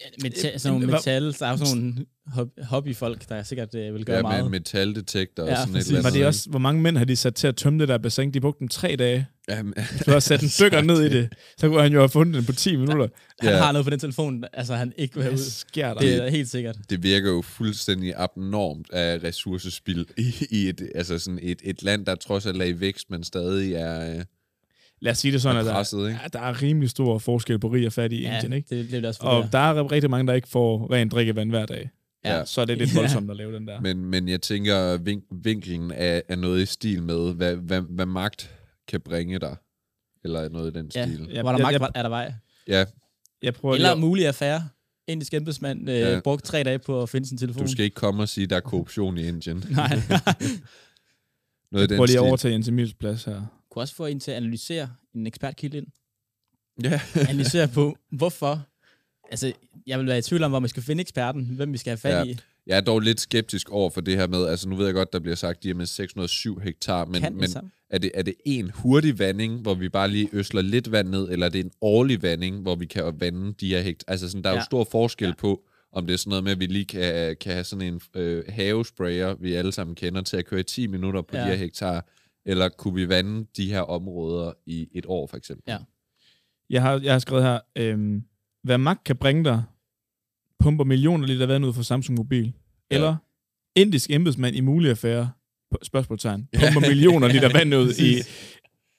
Speaker 8: Ja, Metal, sådan nogle
Speaker 3: hvad-
Speaker 8: metal, der er jo sådan nogle hob- hobbyfolk, der sikkert øh, vil gøre
Speaker 7: Ja, med
Speaker 8: meget.
Speaker 7: en metaldetektor
Speaker 8: Ja,
Speaker 7: og sådan et
Speaker 8: præcis.
Speaker 7: eller
Speaker 3: var
Speaker 7: andet.
Speaker 3: det også, hvor mange mænd har de sat til at tømme det der bassin? De brugte dem tre dage.
Speaker 7: Jamen, (laughs)
Speaker 3: Du har sat en dykker ned i det. Så kunne han jo have fundet den på 10 minutter.
Speaker 8: Han
Speaker 7: Ja.
Speaker 8: har noget på den telefon, altså han ikke vil have
Speaker 3: Hvad
Speaker 8: ud.
Speaker 3: sker der?
Speaker 8: Det er helt sikkert.
Speaker 7: det virker jo fuldstændig abnormt af ressourcespild i, i et, altså sådan et, et land, der trods alt er i vækst, men stadig er... Øh,
Speaker 3: Lad os sige det sådan,
Speaker 7: Er
Speaker 3: at der,
Speaker 7: presset, ikke?
Speaker 3: ja, der er rimelig stor forskel på rig og fattig i ja, Indien, ikke?
Speaker 8: det bliver det også for
Speaker 3: Og der er rigtig mange, der ikke får rent drikkevand hver dag.
Speaker 7: Ja.
Speaker 3: Så er det lidt
Speaker 8: Ja.
Speaker 3: voldsomt at lave den der.
Speaker 7: Men, men jeg tænker, vink, vinklingen er, er noget i stil med, hvad, hvad, hvad magt kan bringe dig. Eller noget i den
Speaker 8: Ja,
Speaker 7: stil.
Speaker 8: ja. Var der
Speaker 3: Jeg-
Speaker 8: magt,
Speaker 3: jeg-
Speaker 8: var- er der vej.
Speaker 7: Ja,
Speaker 3: Jeg prøver
Speaker 8: Eller
Speaker 3: lige
Speaker 8: mulig affære. Indisk embedsmand øh,
Speaker 7: Ja.
Speaker 8: ja. brugte tre dage på at finde sin telefon.
Speaker 7: du skal ikke komme og sige, der er korruption i
Speaker 3: (laughs)
Speaker 7: Indien.
Speaker 8: (laughs) Nej.
Speaker 7: Noget i
Speaker 3: at, prøver
Speaker 7: den
Speaker 3: lige at
Speaker 7: stil.
Speaker 3: overtage Jens Emils plads her.
Speaker 8: kunne også få en til at analysere en ekspertkilde ind.
Speaker 7: Ja.
Speaker 8: (laughs) Analysere på, hvorfor. Altså, jeg vil være i tvivl om, hvor man skal finde eksperten, hvem vi skal have fat
Speaker 7: Ja.
Speaker 8: ja. i.
Speaker 7: Jeg er dog lidt skeptisk over for det her med, altså nu ved jeg godt, der bliver sagt, de er med 607 hektar, men,
Speaker 8: Kan det
Speaker 7: men
Speaker 8: sammen?
Speaker 7: er, det, er det en hurtig vanding, hvor vi bare lige øsler lidt vand ned, eller er det en årlig vanding, hvor vi kan vande de her hektar? Altså sådan, der er jo
Speaker 8: Ja.
Speaker 7: stor forskel ja. på, om det er sådan noget med, at vi lige kan, kan have sådan en øh, havesprayer, vi alle sammen kender, til at køre i 10 minutter på ja.
Speaker 8: Ja.
Speaker 7: de her hektar, eller kunne vi vande de her områder i et år for eksempel?
Speaker 8: Ja.
Speaker 3: Jeg har, jeg har skrevet her, øhm, hvad magt kan bringe dig, pumper millioner liter vand ud fra Samsung Mobil.
Speaker 7: Ja.
Speaker 3: Eller indisk embedsmand i mulige affære, p-
Speaker 8: (laughs)
Speaker 3: spørgsmålstegn, pumper millioner liter vand ud i,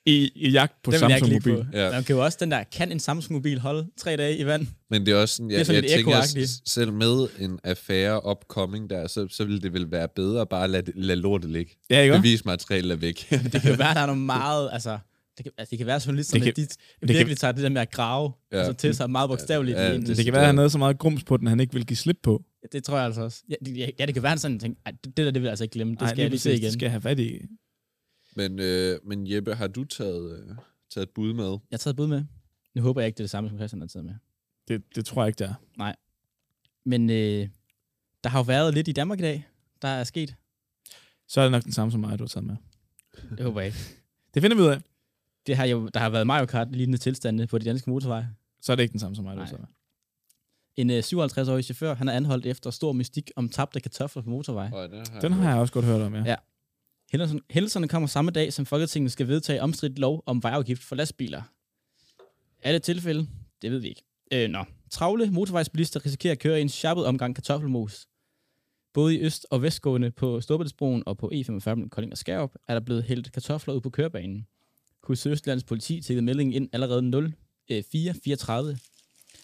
Speaker 3: i, i jagt på
Speaker 8: Den vil jeg ikke
Speaker 3: Samsung
Speaker 8: ligge
Speaker 3: Mobil.
Speaker 8: på.
Speaker 7: Ja.
Speaker 8: Ja. Man kan jo også den der, kan en Samsung-mobil holde tre dage i vand?
Speaker 7: Men det er også sådan, jeg,
Speaker 8: Det er sådan
Speaker 7: jeg
Speaker 8: lidt
Speaker 7: tænker,
Speaker 8: ekoagtigt.
Speaker 7: s- selv med en affære opkoming der, så, så ville det vel være bedre at bare lade, det- lade lortet ligge.
Speaker 3: Ja, ikke også?
Speaker 7: Bevismaterialet er væk.
Speaker 8: Det kan jo være, der er nogle meget, altså... Det kan, altså, det kan være, at journalisterne
Speaker 3: Det
Speaker 8: det
Speaker 3: kan-
Speaker 8: kan,
Speaker 3: det
Speaker 8: de
Speaker 3: kan-
Speaker 8: virkelig tager det der med at grave
Speaker 7: Ja.
Speaker 8: ja. altså, til sig meget bogstaveligt.
Speaker 7: Ja,
Speaker 8: Ja,
Speaker 7: det-
Speaker 8: det,
Speaker 3: Det kan være, at han havde så meget grums på den, han ikke ville give slip på.
Speaker 8: det, tror jeg altså også. Ja, det, ja, det kan være, at han sådan tænker, "Ej, det, det der, det vil jeg altså ikke glemme. Det skal
Speaker 3: lige
Speaker 8: jeg lige se
Speaker 3: præcis,
Speaker 8: igen.
Speaker 3: Det skal jeg have fat i.
Speaker 7: Men, øh, men Jeppe, har du taget, øh, taget et bud med?
Speaker 8: Jeg har taget bud med. Nu håber jeg ikke, det er det samme, som Christian har taget med.
Speaker 3: Det, det tror jeg ikke, der.
Speaker 8: Men øh, der har jo været lidt i Danmark i dag, der er sket.
Speaker 3: Så er det nok den samme som mig, du har taget med.
Speaker 8: Det håber jeg ikke.
Speaker 3: Det finder vi ud af.
Speaker 8: Det har jo, der har været Mario Kart-lignende tilstande på de danske motorveje.
Speaker 3: Så er det ikke den samme som mig, du har
Speaker 8: Nej.
Speaker 3: taget med.
Speaker 8: En øh, 57-årig chauffør, han er anholdt efter stor mystik om tabte kartofler på motorvej.
Speaker 7: Øj, den har,
Speaker 3: Den har jeg også godt hørt om, ja.
Speaker 8: Ja. Hændelsen- Hændelserne kommer samme dag, som Folketinget skal vedtage omstridt lov om vejafgift for lastbiler. Er det et tilfælde? Det ved vi ikke. Øh, nå. Travle motorvejsbilister risikerer at køre i en sjappet omgang kartoffelmos. Både i øst- og vestgående på Storbæltsbroen og på E45 mellem Kolding og Skærup er der blevet hældt kartofler ud på kørebanen. Hus Østlands politi tækkede meldingen ind allerede 04.34.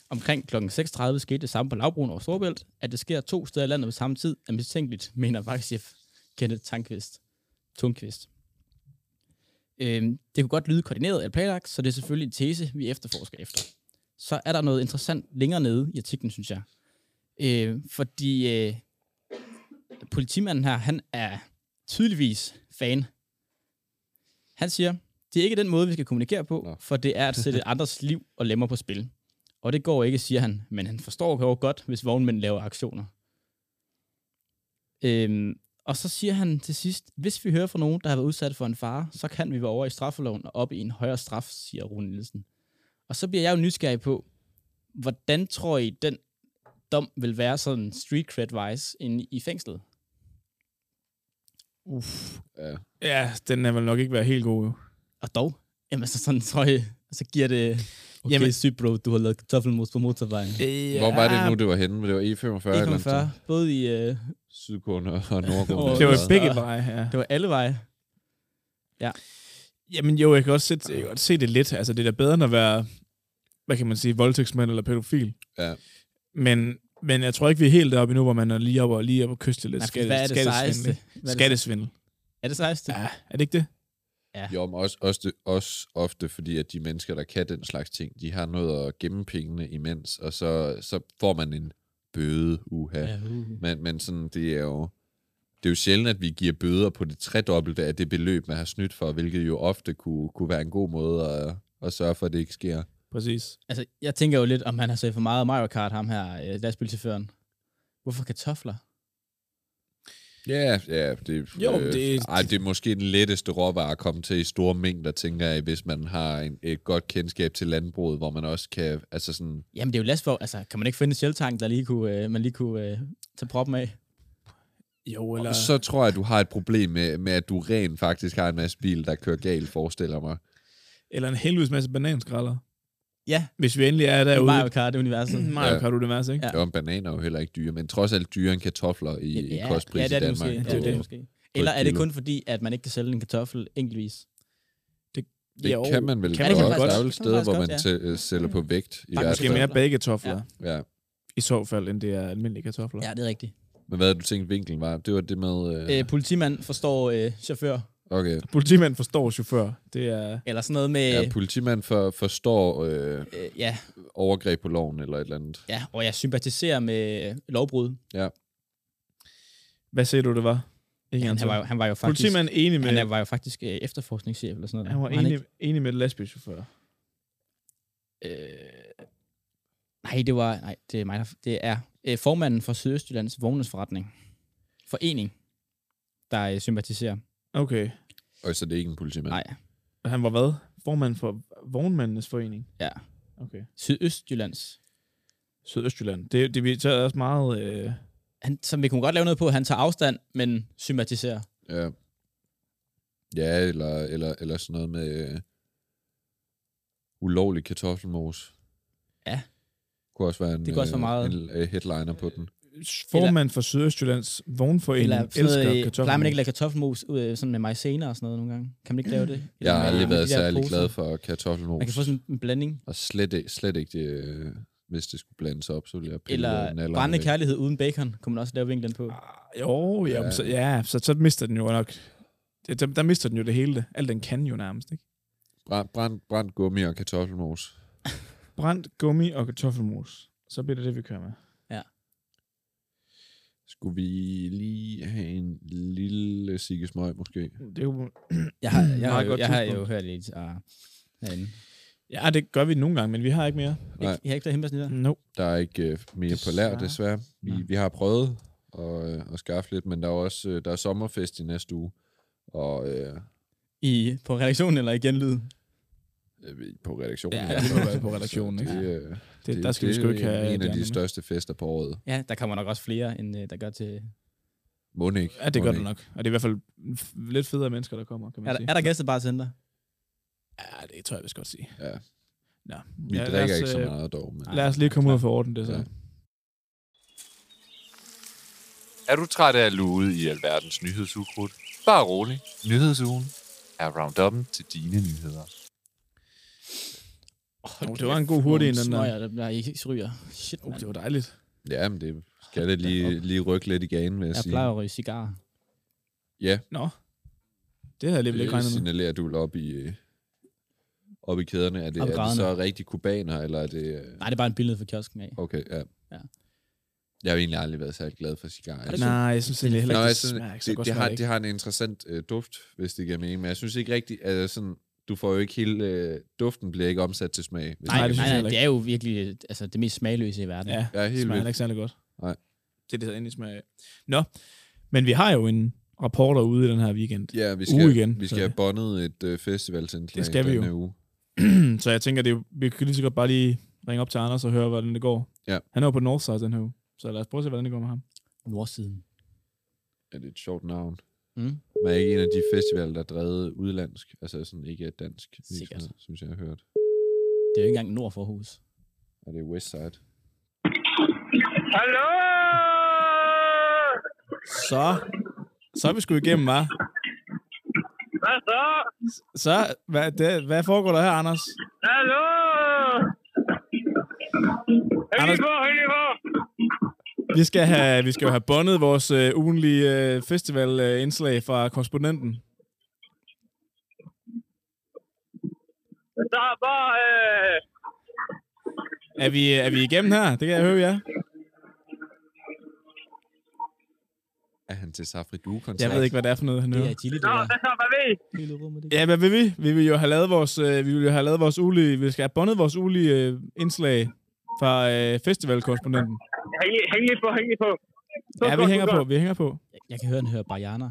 Speaker 8: Omkring kl. 6.30 skete det samme på Lavbroen over Storbælt, at det sker to steder i landet på samme tid, er mistænkeligt, mener vagtchef Kenneth Tankvist. Tungqvist. Øhm, det kunne godt lyde koordineret eller planlagt, så det er selvfølgelig en tese, vi efterforsker efter. Så er der noget interessant længere nede i artiklen, synes jeg. Øh, fordi øh, politimanden her, han er tydeligvis fan. Han siger, det er ikke den måde, vi skal kommunikere på,
Speaker 7: Nå.
Speaker 8: for det er at sætte andres liv og lemmer på spil. Og det går ikke, siger han, men han forstår jo godt, hvis vognmænd laver aktioner. Øhm, og så siger han til sidst, hvis vi hører fra nogen, der har været udsat for en fare, så kan vi være over i straffeloven og op i en højere straf, siger Rune Nielsen. Og så bliver jeg jo nysgerrig på, hvordan tror I, den dom vil være sådan street cred-wise inde i fængslet? Uff.
Speaker 7: Ja.
Speaker 3: Ja, den er vel nok ikke været helt god, jo.
Speaker 8: Og dog, jamen så sådan tror jeg, så giver det... Okay,
Speaker 3: Jamen-
Speaker 8: jamen, sygt bro, du har lavet kartoffelmos på motorvejen.
Speaker 3: Ja.
Speaker 7: Hvor var det nu, det var henne? Det var E45 eller noget.
Speaker 8: 1,45, både i... Øh,
Speaker 7: Sydgående og Nordgående.
Speaker 8: Åh,
Speaker 3: Det var
Speaker 8: Ja.
Speaker 3: i begge veje, ja.
Speaker 8: det var alle veje.
Speaker 3: Jamen jo, jeg kan også se, jeg kan godt se det lidt. Altså, det er da bedre end at være, hvad kan man sige, voldtægtsmand eller pædofil.
Speaker 7: Ja.
Speaker 3: Men, men jeg tror ikke, vi er helt deroppe endnu, hvor man er lige oppe og lige oppe og kyste lidt
Speaker 8: Nej, for
Speaker 3: skatte,
Speaker 8: hvad er det sejeste?
Speaker 3: skattesvindel.
Speaker 8: Hvad er det,
Speaker 3: Skattesvindel.
Speaker 8: er det sejeste?
Speaker 3: Ja, er det ikke det?
Speaker 7: Jo, men også, også, det, også ofte fordi, at de mennesker, der kan den slags ting, de har noget at gemme pengene imens, og så, så får man en bøde, uha. Ja.
Speaker 8: uh.
Speaker 7: Men, men sådan, det er jo... Det er jo sjældent, at vi giver bøder på det tredobbelte af det beløb, man har snydt for, hvilket jo ofte kunne, kunne være en god måde at, at sørge for, at det ikke sker.
Speaker 3: Præcis.
Speaker 8: Altså, jeg tænker jo lidt, om han har set for meget Mario Kart, ham her, øh, lastbilchaufføren. Hvorfor kartofler?
Speaker 7: Ja, ja. Det, øh,
Speaker 3: Jo, det-
Speaker 7: ej, det er måske den letteste råvare at komme til i store mængder, tænker jeg, hvis man har en, et godt kendskab til landbruget, hvor man også kan... Altså sådan,
Speaker 8: Jamen, det er jo lastbil. Altså, kan man ikke finde en sjeltank, der lige kunne, øh, man lige kunne øh, tage proppen af?
Speaker 3: Jo, eller...
Speaker 7: og så tror jeg, du har et problem med, med, at du rent faktisk har en masse bil, der kører galt, forestiller mig.
Speaker 3: Eller en helvedes masse bananskralder.
Speaker 8: Ja.
Speaker 3: Hvis vi endelig er derude.
Speaker 8: Mario Kart-universet.
Speaker 3: Mario
Speaker 7: Ja.
Speaker 3: Kart Universe, ikke?
Speaker 8: Ja.
Speaker 7: Ja. Jo, men bananer er jo heller ikke dyre, men trods alt dyre end kartofler i, ja, i kostpris
Speaker 8: ja, det er
Speaker 7: i
Speaker 8: det
Speaker 7: Danmark.
Speaker 8: måske.
Speaker 7: på-
Speaker 8: Ja, det er det måske. Eller er det
Speaker 7: kilo.
Speaker 8: kun fordi, at man ikke kan sælge en kartoffel enkeltvis?
Speaker 7: Det
Speaker 3: Jo,
Speaker 7: kan man vel
Speaker 3: kan
Speaker 7: kan
Speaker 8: man
Speaker 7: godt.
Speaker 8: faktisk
Speaker 7: Der er
Speaker 8: godt. Mm.
Speaker 7: jo
Speaker 8: Kan
Speaker 7: steder,
Speaker 8: man
Speaker 7: hvor man
Speaker 8: faktisk
Speaker 7: tæ- øh, sælger på vægt. I
Speaker 8: Der er
Speaker 7: hvert
Speaker 3: Måske
Speaker 7: fald.
Speaker 3: mere bagekartofler, ja.
Speaker 7: Ja.
Speaker 3: i så fald, end det er almindelige kartofler.
Speaker 8: Ja, det er rigtigt.
Speaker 7: Men hvad havde du tænkt vinklen var? Det var det med...
Speaker 8: Ja.
Speaker 7: Øh,
Speaker 8: Øh, politimand forstår øh, chauffør.
Speaker 7: okay.
Speaker 3: Politimanden forstår chauffør. Det er...
Speaker 8: Eller sådan noget med... Ja,
Speaker 7: Ja, politimand for, forstår øh,
Speaker 8: øh, ja,
Speaker 7: overgreb på loven eller et eller andet.
Speaker 8: ja, og jeg sympatiserer med øh, lovbrud.
Speaker 3: Hvad siger du, det var? Ikke
Speaker 8: Han,
Speaker 3: engang
Speaker 8: han, var, jo, han var jo faktisk...
Speaker 3: Politimanden er enig altså- med...
Speaker 8: han er- var jo faktisk øh, efterforskningschef eller sådan noget.
Speaker 3: Han var
Speaker 8: ikke?
Speaker 3: enig, enig med lastbilchauffør.
Speaker 8: Øh, nej, det var... Nej, det er mig, der, Det er øh, formanden for Sydøstjyllands Vognmandsforretning. Forening, der øh, sympatiserer.
Speaker 3: Okay.
Speaker 7: Og så det er ikke en politimand.
Speaker 8: Nej,
Speaker 3: Og han var hvad? Formand for Vognmændenes Forening?
Speaker 8: Ja.
Speaker 3: Okay.
Speaker 8: Sydøstjyllands.
Speaker 3: Sydøstjylland. Det, det vi tager også meget... Øh,
Speaker 8: Han, som vi kunne godt lave noget på, han tager afstand, men sympatiserer.
Speaker 7: Ja. Ja, eller, eller, eller sådan noget med øh, ulovlig kartoffelmos.
Speaker 8: Ja.
Speaker 7: Kunne også være en,
Speaker 8: Det kunne også være meget-
Speaker 7: en øh, headliner på den.
Speaker 3: formand for Sydøstjyllands Vognforening
Speaker 8: Eller sådan
Speaker 3: elsker
Speaker 8: noget, øh,
Speaker 3: kartofler.
Speaker 8: plejer man ikke at lave kartoffelmos ud, øh, sådan med majsener og sådan noget nogle gange? Kan man ikke lave det?
Speaker 7: Jeg har
Speaker 8: Med-
Speaker 7: aldrig
Speaker 8: med
Speaker 7: været
Speaker 8: de der
Speaker 7: særlig
Speaker 8: poser.
Speaker 7: glad for kartoffelmos.
Speaker 8: Man kan få sådan en blanding.
Speaker 7: Og slet, ikke- slet ikke det, øh, hvis det skulle blandes op, så ville jeg pille
Speaker 8: Eller
Speaker 7: nallerne
Speaker 8: brændende
Speaker 7: væk.
Speaker 8: kærlighed uden bacon, kunne man også lave vinklen på.
Speaker 3: Ah, Jo, ja,
Speaker 7: Ja.
Speaker 3: ja. Så, ja så, så mister den jo nok... Det, der, der mister den jo det hele. Alt den kan jo nærmest, ikke?
Speaker 7: Brænd, brænd, brænd gummi og kartoffelmos.
Speaker 3: Brændt gummi og kartoffelmos. Så bliver det det, vi kører med.
Speaker 7: Skulle vi lige have en lille sikkesmøg måske?
Speaker 3: Det er jo,
Speaker 8: Jeg har, jeg har,
Speaker 3: Meget
Speaker 8: jo,
Speaker 3: godt
Speaker 8: jeg har jo
Speaker 3: tidspunkt.
Speaker 8: hørt lidt uh, herinde.
Speaker 3: ja, det gør vi nogle gange, men vi har ikke mere.
Speaker 7: Nej.
Speaker 8: Ikke, jeg har ikke der hente sådan
Speaker 3: No.
Speaker 7: Der er ikke øh, mere på lær,
Speaker 3: Desværre.
Speaker 7: desværre. Vi,
Speaker 8: Nej.
Speaker 7: vi har prøvet at, øh, at skaffe lidt, men der er også øh, der er sommerfest i næste uge. Og øh,
Speaker 8: I, på redaktionen eller igen lyd?
Speaker 7: øh, på redaktionen.
Speaker 3: Ja,
Speaker 7: altså.
Speaker 3: det må være på redaktionen,
Speaker 7: (laughs) Så
Speaker 3: ikke?
Speaker 7: Det, øh,
Speaker 3: Det, det, der skal vi
Speaker 7: det
Speaker 3: sgu ikke
Speaker 7: er
Speaker 3: have
Speaker 7: en af
Speaker 3: andre
Speaker 7: de
Speaker 3: med.
Speaker 7: største fester på året.
Speaker 8: Ja, der kommer nok også flere, end uh, der gør til...
Speaker 7: Må ikke?
Speaker 3: Ja, det gør
Speaker 7: Mon
Speaker 3: det
Speaker 7: ikke.
Speaker 3: nok. Og det er i hvert fald f- lidt federe mennesker, der kommer, kan man
Speaker 8: Er der,
Speaker 3: sige.
Speaker 8: er der gæstebartender?
Speaker 3: Ja, det tror jeg, vi skal godt sige.
Speaker 7: Ja.
Speaker 3: Nå.
Speaker 7: Vi
Speaker 3: ja, lad
Speaker 7: drikker
Speaker 3: os,
Speaker 7: ikke så
Speaker 3: øh,
Speaker 7: meget dog. Men...
Speaker 3: Lad os lige komme ud og få orden det så.
Speaker 7: Ja.
Speaker 3: Ja.
Speaker 2: Er du træt af at lude i alverdens nyhedsukrudt? Bare rolig. Nyhedsugen er rounduppen til dine nyheder.
Speaker 3: Oh, det var en god hurtig en, den der.
Speaker 8: der. der bliver ikke ryger. Shit,
Speaker 3: Oh,
Speaker 8: mand.
Speaker 3: det var dejligt.
Speaker 7: Ja, men det skal det lige, lige rykke lidt i ganen, vil
Speaker 8: Jeg
Speaker 7: jeg, sige.
Speaker 8: plejer at ryge cigarer.
Speaker 3: Nå. Det havde jeg alligevel ikke regnet
Speaker 7: Det
Speaker 3: med.
Speaker 7: Øh, signalerer du op i, øh, op i kæderne. Er det, er
Speaker 8: Op i
Speaker 7: det
Speaker 8: graderne.
Speaker 7: så rigtig kubaner, eller er det... øh,
Speaker 8: Nej, det er bare en billede fra kiosken af.
Speaker 7: Okay, ja. Jeg har jo egentlig aldrig været særlig glad for cigarer.
Speaker 8: Er det
Speaker 3: Nej, jeg synes egentlig heller
Speaker 7: Nå,
Speaker 3: ikke,
Speaker 7: jeg
Speaker 3: det
Speaker 7: synes,
Speaker 3: smager ikke så
Speaker 7: det,
Speaker 3: godt.
Speaker 7: det,
Speaker 3: smager
Speaker 7: har,
Speaker 3: det
Speaker 7: det har en interessant øh, duft, hvis det giver mening, men jeg synes ikke rigtigt, at altså sådan, du får jo ikke hele, øh, duften bliver ikke omsat til smag. hvis
Speaker 3: Nej,
Speaker 8: Nej,
Speaker 7: det
Speaker 3: det synes
Speaker 8: nej,
Speaker 3: jeg
Speaker 8: nej,
Speaker 3: heller
Speaker 8: det er jo virkelig øh, altså, det mest smagløse i verden.
Speaker 3: Ja,
Speaker 7: Jeg er
Speaker 3: det
Speaker 7: helt
Speaker 3: smager
Speaker 7: vildt.
Speaker 3: heller ikke særlig godt.
Speaker 7: Nej.
Speaker 3: Det er det, der endelig smager af. Nå, men vi har jo en rapporter ude i den her weekend.
Speaker 7: Ja, vi
Speaker 3: uge
Speaker 7: skal,
Speaker 3: igen,
Speaker 7: vi
Speaker 3: så-
Speaker 7: skal have bondet et øh, festivalsindslag
Speaker 3: Det skal vi
Speaker 7: denne
Speaker 3: jo.
Speaker 7: uge.
Speaker 3: så jeg tænker, det, er- vi kan lige så godt bare lige ringe op til Anders og høre, hvordan det går.
Speaker 7: Ja.
Speaker 3: Han er jo på Northside den her uge, så lad os prøve at se, hvordan det går med ham.
Speaker 8: Nordsiden.
Speaker 7: Ja, det er et sjovt navn.
Speaker 8: Mm.
Speaker 7: Men er ikke en af de festivaler, der er drevet udlandsk, altså sådan ikke af dansk, virksomhed,
Speaker 8: Sikkert.
Speaker 7: synes jeg, jeg har hørt.
Speaker 8: Det er jo ikke engang nord for hus.
Speaker 7: Og det er Westside.
Speaker 4: Hallo!
Speaker 3: Så, så er vi sgu igennem, hva'?
Speaker 4: Hvad så?
Speaker 3: Så, hvad, det, hvad foregår der her, Anders?
Speaker 4: Hallo! Hør
Speaker 3: Anders-
Speaker 4: lige på, hør lige på!
Speaker 3: Vi skal, have, vi skal jo have bondet vores øh, ugenlige øh, festivalindslag øh, fra korrespondenten.
Speaker 4: Så har bare... Øh,
Speaker 3: Er vi, er vi igennem her? Det kan jeg høre, ja.
Speaker 7: Er han til Safri koncert
Speaker 3: Jeg ved ikke, hvad det er for noget, han
Speaker 8: Det
Speaker 3: hører.
Speaker 8: er Chili, det
Speaker 4: nå,
Speaker 8: der.
Speaker 4: hvad så, hvad ved I?
Speaker 8: Hele rummet, det.
Speaker 3: Ja, hvad vil vi? Vi vil jo have lavet vores, øh, vi vil jo have lavet vores ulige, vi skal have bondet vores ulige øh, indslag fra øh, festivalkorrespondenten.
Speaker 4: Hæng, lige- hæng lige på, hæng lige på. Så
Speaker 3: Ja, vi
Speaker 4: godt, så
Speaker 3: hænger på,
Speaker 4: godt.
Speaker 3: vi hænger på.
Speaker 8: Jeg kan høre, den hører Bajana.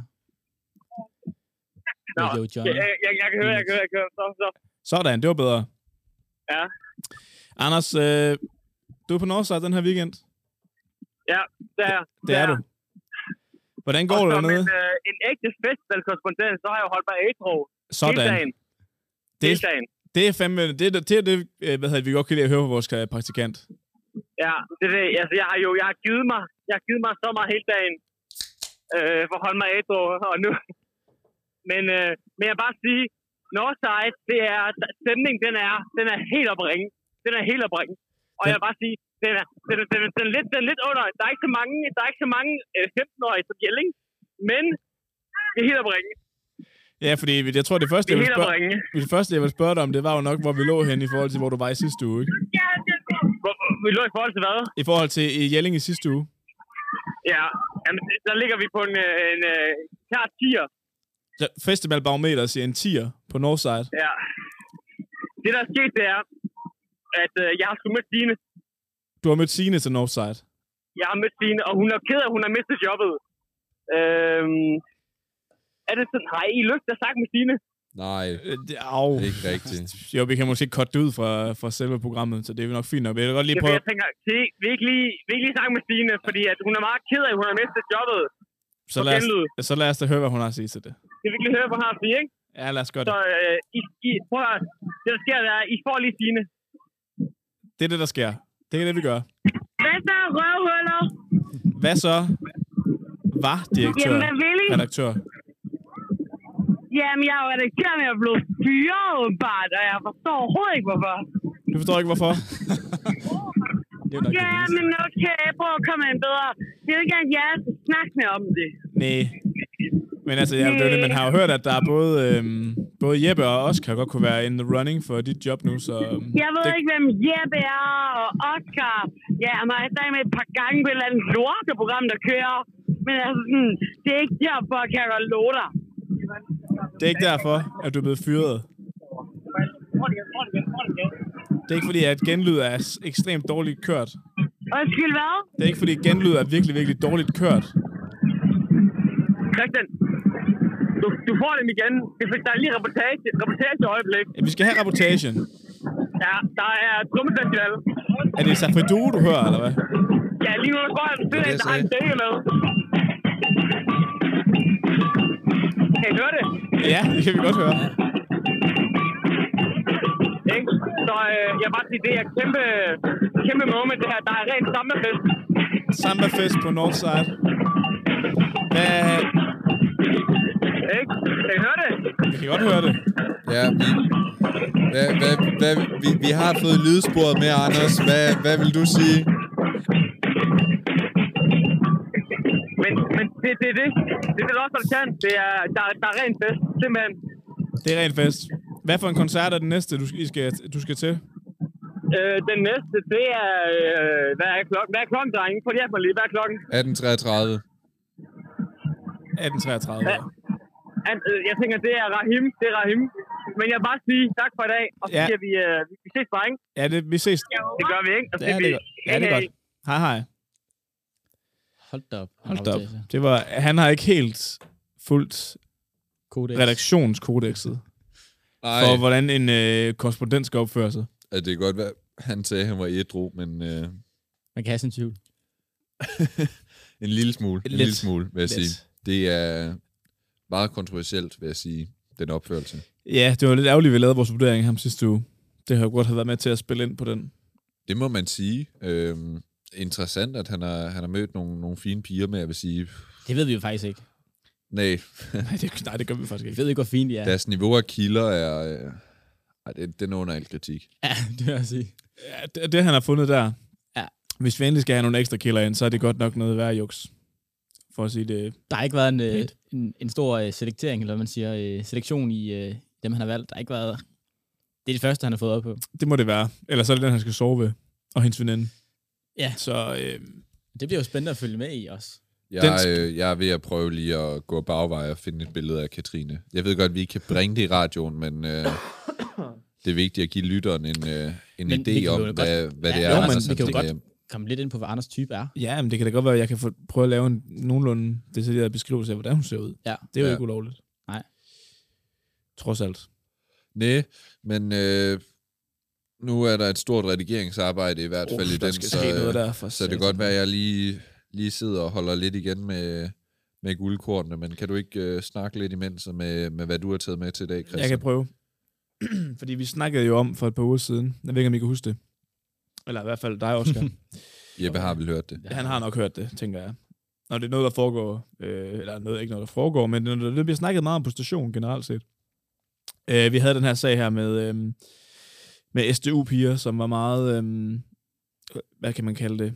Speaker 4: Nå,
Speaker 8: Radio
Speaker 4: Jeg,
Speaker 8: Johnny.
Speaker 4: jeg, jeg, jeg kan høre, jeg kan høre, jeg kan høre. Så, så.
Speaker 3: Sådan, det var bedre.
Speaker 4: Ja.
Speaker 3: Anders, øh, du er på Northside den her weekend.
Speaker 4: Ja, der er.
Speaker 3: Det er du. Hvordan går
Speaker 4: Og
Speaker 3: det
Speaker 4: som
Speaker 3: dernede?
Speaker 4: en, øh, en ægte festivalkorrespondent, så har jeg jo holdt mig ædru. Hele
Speaker 3: Sådan.
Speaker 4: dagen.
Speaker 3: Det,
Speaker 4: Hele
Speaker 3: er-
Speaker 4: dagen.
Speaker 3: det er fandme, det, er- det er det, øh, hvad hedder det, vi godt kan lide at høre fra vores øh, praktikant.
Speaker 4: Ja, det er det. Altså, jeg har jo jeg har givet mig, jeg har givet mig så meget hele dagen øh, for at holde mig ædru, og nu... Men, øh, men jeg vil bare sige, Northside, det er, stemningen, den er, den er helt op at ringe. Den er helt op at ringe. Og
Speaker 3: Den-
Speaker 4: jeg vil bare sige, den er, den, er, den, er, den, er lidt, den er lidt under. Der er ikke så mange, der er ikke så mange øh, 15-årige som Jelling, men det er helt op at ringe.
Speaker 3: Ja, fordi jeg tror, det første,
Speaker 4: Det er
Speaker 3: jeg vil
Speaker 4: helt op at
Speaker 3: spørge,
Speaker 4: ringe.
Speaker 3: det første, jeg vil spørge dig om, det var jo nok, hvor vi lå hen i forhold til, hvor du var i sidste uge, ikke?
Speaker 4: Hvor, vi lå i forhold til hvad?
Speaker 3: I forhold til i Jelling i sidste uge.
Speaker 4: Ja, jamen, det- der ligger vi på en, øh, en, øh, klar tier.
Speaker 3: Så Festivalbarometer siger en 10'er på Northside.
Speaker 4: Ja. Det, der er sket, det er, at øh, jeg har sgu mødt Signe.
Speaker 3: Du har mødt Signe til Northside.
Speaker 4: Jeg har mødt Signe, og hun er ked af, at hun har mistet jobbet. Øhm, er det sådan, har I lyst til at snakke med Signe?
Speaker 7: Nej,
Speaker 3: Øh, det- Au.
Speaker 7: det er ikke rigtigt.
Speaker 3: Jo, vi kan måske cutte det ud fra, fra selve programmet, så det er jo nok fint nok. Jeg vil godt lige
Speaker 4: Jeg,
Speaker 3: prøve...
Speaker 4: jeg tænker, det, vi, ikke lige, vi ikke lige snakke med Signe, fordi at hun er meget ked af, at hun har mistet jobbet.
Speaker 3: Så
Speaker 4: på
Speaker 3: lad,
Speaker 4: genlyd.
Speaker 3: os, så lad os da høre, hvad hun har at sige til det.
Speaker 4: Det vil virkelig høre, hvad hun har at sige, ikke?
Speaker 3: Ja, lad os gøre
Speaker 4: Så
Speaker 3: det.
Speaker 4: øh, I, I, prøv at, høre. det, der sker, det er, I får lige Signe.
Speaker 3: Det er det, der sker. Det er det, vi gør.
Speaker 6: Hvad så, røvhuller?
Speaker 3: Hvad så? Var direktør?
Speaker 6: Jamen, hvad vil I?
Speaker 3: Redaktør.
Speaker 6: Jamen, jeg er jo redaktør, men jeg er blevet fyret åbenbart, og jeg forstår overhovedet ikke, hvorfor.
Speaker 3: Du forstår ikke, hvorfor?
Speaker 8: Det er jo nok det
Speaker 6: Ja,
Speaker 8: vildeste.
Speaker 6: men okay, prøv at komme en bedre. Det er jo ikke engang jeres at snakke med om det.
Speaker 3: Nej. Men altså, ja, det er jo det, man har jo hørt, at der er både, øhm, både Jeppe og Oscar godt kunne være in the running for dit job nu, så... øhm,
Speaker 6: Jeg ved
Speaker 3: det,
Speaker 6: det... ikke, hvem Jeppe er og Oscar. Ja, man har stadig med et par gange på et eller andet lorteprogram, der kører. Men altså, sådan, det er ikke derfor, kan jeg godt love dig.
Speaker 3: Det er ikke derfor, at du er blevet fyret. Det er ikke fordi, at genlyd er s- ekstremt dårligt kørt.
Speaker 6: Undskyld, hvad?
Speaker 3: Det er ikke fordi, at genlyd er virkelig, virkelig dårligt kørt.
Speaker 4: Christian, du, du får dem igen. Det er, fordi, der er lige reportage, reportageøjeblik.
Speaker 3: Ja, Vi skal have rapportagen.
Speaker 4: Ja, der er trummefestival.
Speaker 3: Er det Safridue, du hører, eller hvad?
Speaker 4: Ja, lige nu der går han til,
Speaker 7: det,
Speaker 4: at
Speaker 7: jeg
Speaker 4: der har en dænge med. Kan I høre det?
Speaker 3: Ja, det kan vi godt høre.
Speaker 4: Ikke? Så øh, jeg vil bare sige, det er et kæmpe, kæmpe moment, det her. Der er rent samlefest.
Speaker 3: Samba-fest på Northside. Hvad...
Speaker 4: Ikke? Kan I høre det?
Speaker 3: Vi kan godt høre det.
Speaker 7: Ja, vi, hvad, hvad, hvad, vi, vi har fået lydsporet med, Anders. Hvad, hvad vil du sige?
Speaker 4: Men, men det, det er det. Det er det, der også er det kan. Det er, der, der er rent fest, simpelthen.
Speaker 3: Det er rent fest. Hvad for en koncert er den næste, du skal, I skal, du skal til?
Speaker 4: Øh, den næste, det er... Øh, hvad er klokken? Hvad er klokken, drenge? Prøv lige at hjælpe mig lige. Hvad er klokken?
Speaker 7: 1833.
Speaker 3: 1833.
Speaker 4: Ja. An, øh, jeg tænker, det er Rahim. Det er Rahim. Men jeg vil bare sige tak for i dag. Og så
Speaker 3: Ja.
Speaker 4: ja. siger vi, øh, vi ses bare, ikke?
Speaker 3: Ja, det, vi ses. Ja,
Speaker 4: Det gør vi, ikke? Og så
Speaker 3: det er
Speaker 4: siger vi,
Speaker 3: godt. Ja, det er
Speaker 4: hey, hey.
Speaker 3: godt. Hej, hej.
Speaker 8: Hold da op.
Speaker 3: Hold da op. Det var, han har ikke helt fuldt
Speaker 8: Kodex.
Speaker 3: redaktionskodexet
Speaker 7: Nej,
Speaker 3: for, hvordan en øh, korrespondent skal opføre sig.
Speaker 7: at det kan godt være, han sagde, at han var ædru, men øh,
Speaker 8: Man kan have sin tvivl.
Speaker 7: en lille smule, en
Speaker 8: Lidt.
Speaker 7: lille smule, vil jeg
Speaker 8: Lidt.
Speaker 7: sige. Det er meget kontroversielt, vil jeg sige, den opførelse.
Speaker 3: Ja, det var lidt ærgerligt, at vi lavede vores vurdering af ham sidste uge. Det har jo godt have været med til at spille ind på den.
Speaker 7: Det må man sige. Øhm, interessant, at han har, han har mødt nogle, nogle fine piger, men jeg vil sige,
Speaker 8: Det ved vi jo faktisk ikke.
Speaker 7: nej,
Speaker 3: Nej, det, nej, det gør vi faktisk
Speaker 8: Vi
Speaker 3: ikke.
Speaker 8: ved ikke, hvor fint de er.
Speaker 7: deres niveau af kilder er... Øh, ej, det, den er under al kritik.
Speaker 8: (laughs) Ja, det vil jeg sige.
Speaker 3: Ja, det, det, han har fundet der.
Speaker 8: Ja.
Speaker 3: Hvis vi endelig skal have nogle ekstra kilder ind, så er det godt nok noget værre juks. For at sige det.
Speaker 8: Der har ikke været en, øh, en, en stor øh, selektering, eller hvad man siger, øh, selektion i øh, dem, han har valgt. Der har ikke været... Det er det første, han har fået op på.
Speaker 3: Det må det være. Ellers er det den, han skal sove ved. Og hendes veninde.
Speaker 8: Ja.
Speaker 3: Så øh,
Speaker 8: Det bliver jo spændende at følge med i også.
Speaker 7: Jeg,
Speaker 3: Den
Speaker 7: øh, jeg er ved at prøve lige at gå bagvej og finde et billede af Katrine. Jeg ved godt, at vi ikke kan bringe det i radioen,
Speaker 8: (coughs)
Speaker 7: men øh, det er vigtigt at give lytteren en, øh, en
Speaker 8: Men vi
Speaker 7: idé
Speaker 8: kan jo
Speaker 7: om,
Speaker 8: godt-
Speaker 7: hvad, hvad det
Speaker 8: Ja,
Speaker 7: er,
Speaker 8: jo, men
Speaker 7: Anders
Speaker 8: vi kan jo
Speaker 7: har
Speaker 8: godt-
Speaker 7: taget hjem.
Speaker 8: Kom lidt ind på, hvad Anders type er.
Speaker 3: ja, men det kan da godt være, at jeg kan få, prøve at lave en nogenlunde detaljeret beskrivelse af, hvordan hun ser ud.
Speaker 8: Ja.
Speaker 3: Det er jo
Speaker 7: Ja.
Speaker 3: ikke ulovligt.
Speaker 8: Nej.
Speaker 3: Trods alt.
Speaker 7: Næ, men øh, nu er der et stort redigeringsarbejde i hvert fald i
Speaker 3: der
Speaker 7: den,
Speaker 3: skal
Speaker 7: så,
Speaker 3: ske noget
Speaker 7: øh,
Speaker 3: der for
Speaker 7: så det kan
Speaker 3: satan.
Speaker 7: godt være, at jeg lige, lige sidder og holder lidt igen med, med guldkortene, men kan du ikke øh, snakke lidt imens og med, med, hvad du har taget med til i dag, Christian?
Speaker 3: Jeg kan prøve. (clears throat) Fordi vi snakkede jo om for et par uger siden, jeg ved ikke, om I kan huske det. Eller i hvert fald dig, Oscar.
Speaker 7: Jeppe har vel hørt det.
Speaker 8: Ja.
Speaker 3: Han har nok hørt det, tænker jeg. Når det er noget, der foregår, øh, eller noget, ikke noget, der foregår, men det, er noget, der bliver snakket meget om på stationen generelt set. Øh, vi havde den her sag her med, øh, med SDU-piger, som var meget, øh, hvad kan man kalde det,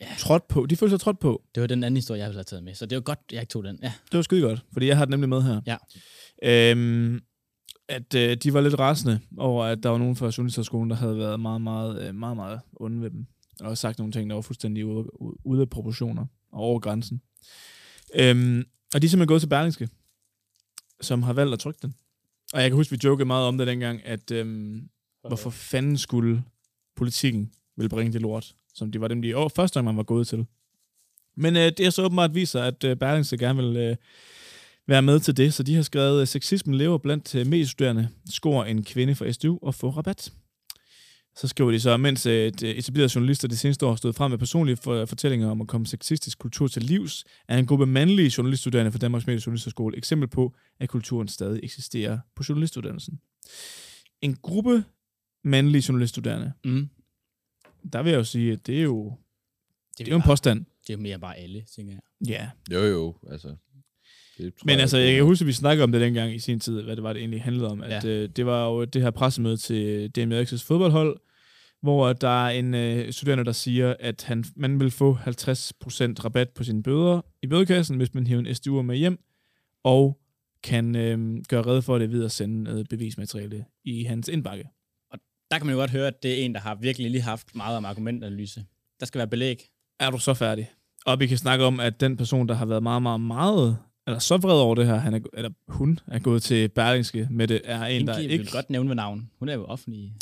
Speaker 8: Ja.
Speaker 3: trådt på. De følte sig trådt på.
Speaker 8: Det var den anden historie, jeg ville have taget med. Så det var godt, jeg ikke tog den. Ja.
Speaker 3: Det var skide godt, fordi jeg har det nemlig med her.
Speaker 8: Ja.
Speaker 3: Øhm, at øh, de var lidt rasende over, at der var nogen fra Sundhedshøjskolen, der havde været meget, meget, øh, meget, meget onde ved dem. Og sagt nogle ting, der var fuldstændig ude, ude af proportioner og over grænsen. Øhm, og de er simpelthen gået til Berlingske, som har valgt at trykke den. Og jeg kan huske, vi jokede meget om det dengang, at øhm, hvorfor fanden skulle politikken vil bringe det lort, som de var dem, de år, første gang man var gået til. Men øh, det er så åbenbart vist sig, at øh, Berlingske gerne vil øh, være med til det, så de har skrevet, at sexismen lever blandt øh, mediestuderende, skor en kvinde fra SDU og få rabat. Så skriver de så, mens øh, et, øh, etablerede journalister de seneste år stod frem med personlige for, fortællinger om at komme sexistisk kultur til livs, er en gruppe mandlige journaliststuderende fra Danmarks Medie- og Journalisterskole eksempel på, at kulturen stadig eksisterer på journalistuddannelsen. En gruppe mandlige journaliststuderende,
Speaker 8: Mm.
Speaker 3: der vil jeg jo sige, at det er jo,
Speaker 8: Det,
Speaker 3: det er jo en påstand.
Speaker 8: det er jo mere bare alle, tænker jeg.
Speaker 3: Ja, yeah.
Speaker 7: Jo, jo, altså. Det tror
Speaker 3: Men altså, jeg kan
Speaker 7: på.
Speaker 3: huske, at vi snakkede om det dengang i sin tid, hvad det var, det egentlig handlede om. At, ja. øh, det var jo det her pressemøde til DM Eriksens fodboldhold, hvor der er en øh, studerende, der siger, at han, man vil få 50% rabat på sine bøder i bødekassen, hvis man hiver en SDU'er med hjem, og kan øh, gøre redde for det ved at sende noget bevismateriale i hans indbakke.
Speaker 8: Der kan man jo godt høre, at det er en, der har virkelig lige haft meget om argumentanalyse. Der skal være belæg.
Speaker 3: er du så færdig? Og vi kan snakke om, at den person, der har været meget, meget, meget, eller så vred over det her, han er, eller hun er gået til Berlingske med det, er en, der
Speaker 8: Hende kan vi
Speaker 3: ikke...
Speaker 8: vil godt nævne ved navn. Hun er jo offentlig.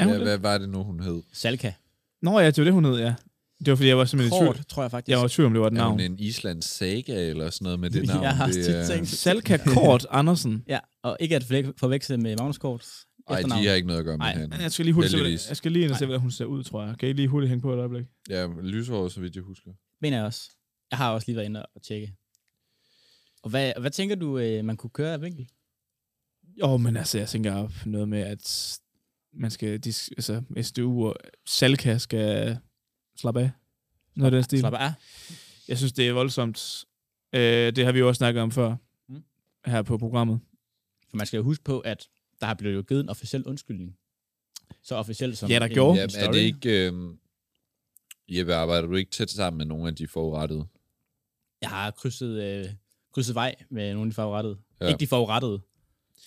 Speaker 3: Er hun
Speaker 7: Ja,
Speaker 3: det?
Speaker 7: hvad var det nu, hun hed?
Speaker 8: Salka.
Speaker 3: Nå ja, det var det, hun hed, ja. Det var, fordi jeg var simpelthen i
Speaker 8: Kort,
Speaker 3: tvivl.
Speaker 8: tror jeg faktisk.
Speaker 3: Jeg var i tvivl, om det var et
Speaker 7: Er hun
Speaker 3: navn.
Speaker 7: en Islands saga eller sådan noget
Speaker 3: (laughs)
Speaker 7: med det navn?
Speaker 8: jeg har
Speaker 7: det,
Speaker 8: også tit
Speaker 7: er-
Speaker 8: tænkt.
Speaker 3: Salka Kort Andersen.
Speaker 8: Ja, og ikke at forvek- forveksle med Magnus Korts
Speaker 7: Ej, de har ikke noget at gøre med
Speaker 8: Nej.
Speaker 7: hinanden.
Speaker 3: Jeg skal lige hurtigt se, hvordan-
Speaker 7: Heldigvis.
Speaker 3: jeg skal lige ind og se, hvordan hun ser ud, tror jeg. Kan I lige hurtigt hænge på et øjeblik?
Speaker 7: Ja, lyshåret, så vidt jeg husker.
Speaker 8: Mener jeg også. Jeg har også lige været inde og tjekke. Og hvad, hvad tænker du, øh, man kunne køre af vinkel?
Speaker 3: Jo, men altså, jeg tænker op noget med, at man skal, de, altså, SDU og Salka skal slappe af. Noget af den stil.
Speaker 8: Slap af.
Speaker 3: Jeg synes, det er voldsomt. Øh, det har vi jo også snakket om før
Speaker 8: Mm.
Speaker 3: her på programmet.
Speaker 8: For man skal jo huske på, at der har blevet jo givet en officiel undskyldning. Så officielt som...
Speaker 3: Ja, der
Speaker 8: en-
Speaker 3: gjorde.
Speaker 7: Jamen, er
Speaker 3: story.
Speaker 7: det ikke... Øh, Jeppe, arbejder du ikke tæt sammen med nogle af de forurettede?
Speaker 8: Jeg har krydset, øh, krydset vej med nogle af de forurettede.
Speaker 7: Ja.
Speaker 8: Ja. Ikke de forurettede.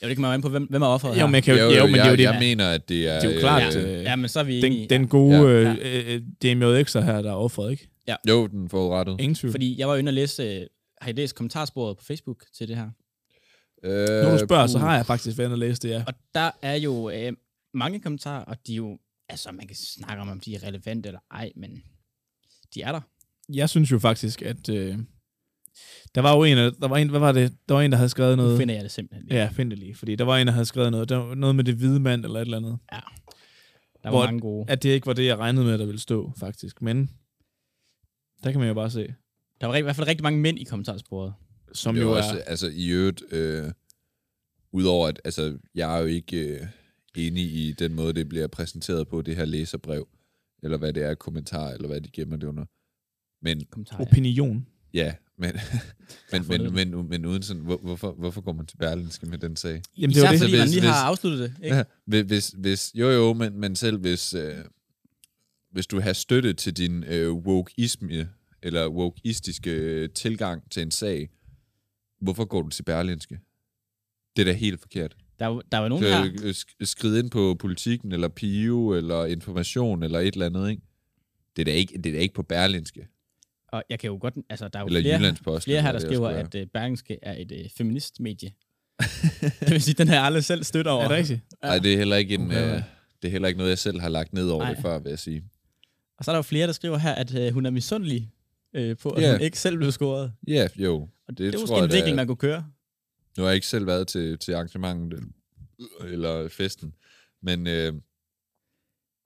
Speaker 8: Jo, det kan man jo an på, hvem, hvem er offeret
Speaker 3: Jo,
Speaker 8: her.
Speaker 3: men, jeg kan, jo, jo, men det
Speaker 7: jeg,
Speaker 3: er jo det.
Speaker 7: Jeg mener, at det er...
Speaker 3: Det er jo klart,
Speaker 7: Øh,
Speaker 3: øh,
Speaker 8: Ja, men så er vi enige.
Speaker 3: den, den gode
Speaker 8: Ja.
Speaker 3: ja, ja. Øh, DMJX'er her, der er offeret, ikke?
Speaker 7: jo, den forrettet.
Speaker 3: Ingen tvivl.
Speaker 8: Fordi jeg var inde og læse, øh, har I læst kommentarsporet på Facebook til det her?
Speaker 7: Øh,
Speaker 3: Når du spørger, så
Speaker 7: puh.
Speaker 3: har jeg faktisk været inde og læst det, ja.
Speaker 8: Og der er jo øh, mange kommentarer, og de er jo, altså man kan snakke om, om de er relevante eller ej, men de er der.
Speaker 3: Jeg synes jo faktisk, at... Øh, der var jo en, af- der var en, hvad var det? Der var en, der havde skrevet
Speaker 8: Nu
Speaker 3: noget...
Speaker 8: finder jeg det simpelthen lige.
Speaker 3: Ja, find det lige. Fordi der var en, der havde skrevet noget. Der var noget med det hvide mand eller et eller andet.
Speaker 8: der
Speaker 3: hvor-
Speaker 8: var mange gode.
Speaker 3: At det ikke var det, jeg regnede med, der ville stå, faktisk. Men der kan man jo bare se.
Speaker 8: Der var ri- i hvert fald rigtig mange mænd i kommentarsporet.
Speaker 3: Som
Speaker 7: Det er
Speaker 3: jo
Speaker 7: jo
Speaker 3: er...
Speaker 7: også, altså i øvrigt, øh, udover at, altså jeg er jo ikke øh, enig i den måde, det bliver præsenteret på, det her læserbrev, eller hvad det er, kommentar, eller hvad de gemmer det under. Men
Speaker 8: Kommentarer, ja.
Speaker 3: Opinion.
Speaker 7: ja, men, (laughs) men,
Speaker 8: fornøjelig.
Speaker 7: men, men, men uden sådan, hvor, hvorfor, hvorfor går man til Berlinske med den sag?
Speaker 3: Jamen, det
Speaker 8: Især
Speaker 3: var det.
Speaker 8: fordi
Speaker 7: Så
Speaker 8: man
Speaker 7: hvis-
Speaker 8: lige har
Speaker 7: hvis-
Speaker 8: afsluttet det, ikke?
Speaker 7: Ja, hvis- hvis, hvis, jo jo, men, men selv hvis, øh, hvis du har støtte til din øh, wokeisme, eller wokeistiske øh, tilgang til en sag, hvorfor går du til Berlinske? Det er da helt forkert.
Speaker 8: Der, er jo- der var nogen her,
Speaker 7: Skal, øh, sk- skride ind på politikken, eller Pio, eller information, eller et eller andet, ikke? Det er da ikke, det er da ikke på Berlinske.
Speaker 8: og jeg kan jo godt, altså der er jo
Speaker 7: Eller
Speaker 8: flere,
Speaker 7: Jyllandsposten,
Speaker 8: flere her,
Speaker 7: eller
Speaker 8: der
Speaker 7: hvad det
Speaker 8: skriver,
Speaker 7: skulle
Speaker 8: at uh, Bergenske er et uh,
Speaker 7: (laughs)
Speaker 8: feministmedie. det vil sige, den har jeg aldrig selv stødt over.
Speaker 3: Er det rigtigt?
Speaker 7: Nej, det er heller ikke en...
Speaker 3: Okay.
Speaker 7: Øh, det er heller ikke noget, jeg selv har lagt ned over
Speaker 8: Nej.
Speaker 7: Ej. det før, vil jeg sige.
Speaker 8: Og så er der jo flere, der skriver her, at øh, hun er misundelig øh, på, at
Speaker 7: Ja.
Speaker 8: hun ikke selv blev scoret.
Speaker 7: Ja, yeah, jo.
Speaker 8: Og det,
Speaker 7: Det
Speaker 8: det er
Speaker 7: tror
Speaker 8: måske en
Speaker 7: jeg, det
Speaker 8: vinkel,
Speaker 7: er.
Speaker 8: man kunne køre.
Speaker 7: Nu har jeg ikke selv været til, til arrangementet, øh, eller festen, men... Øh,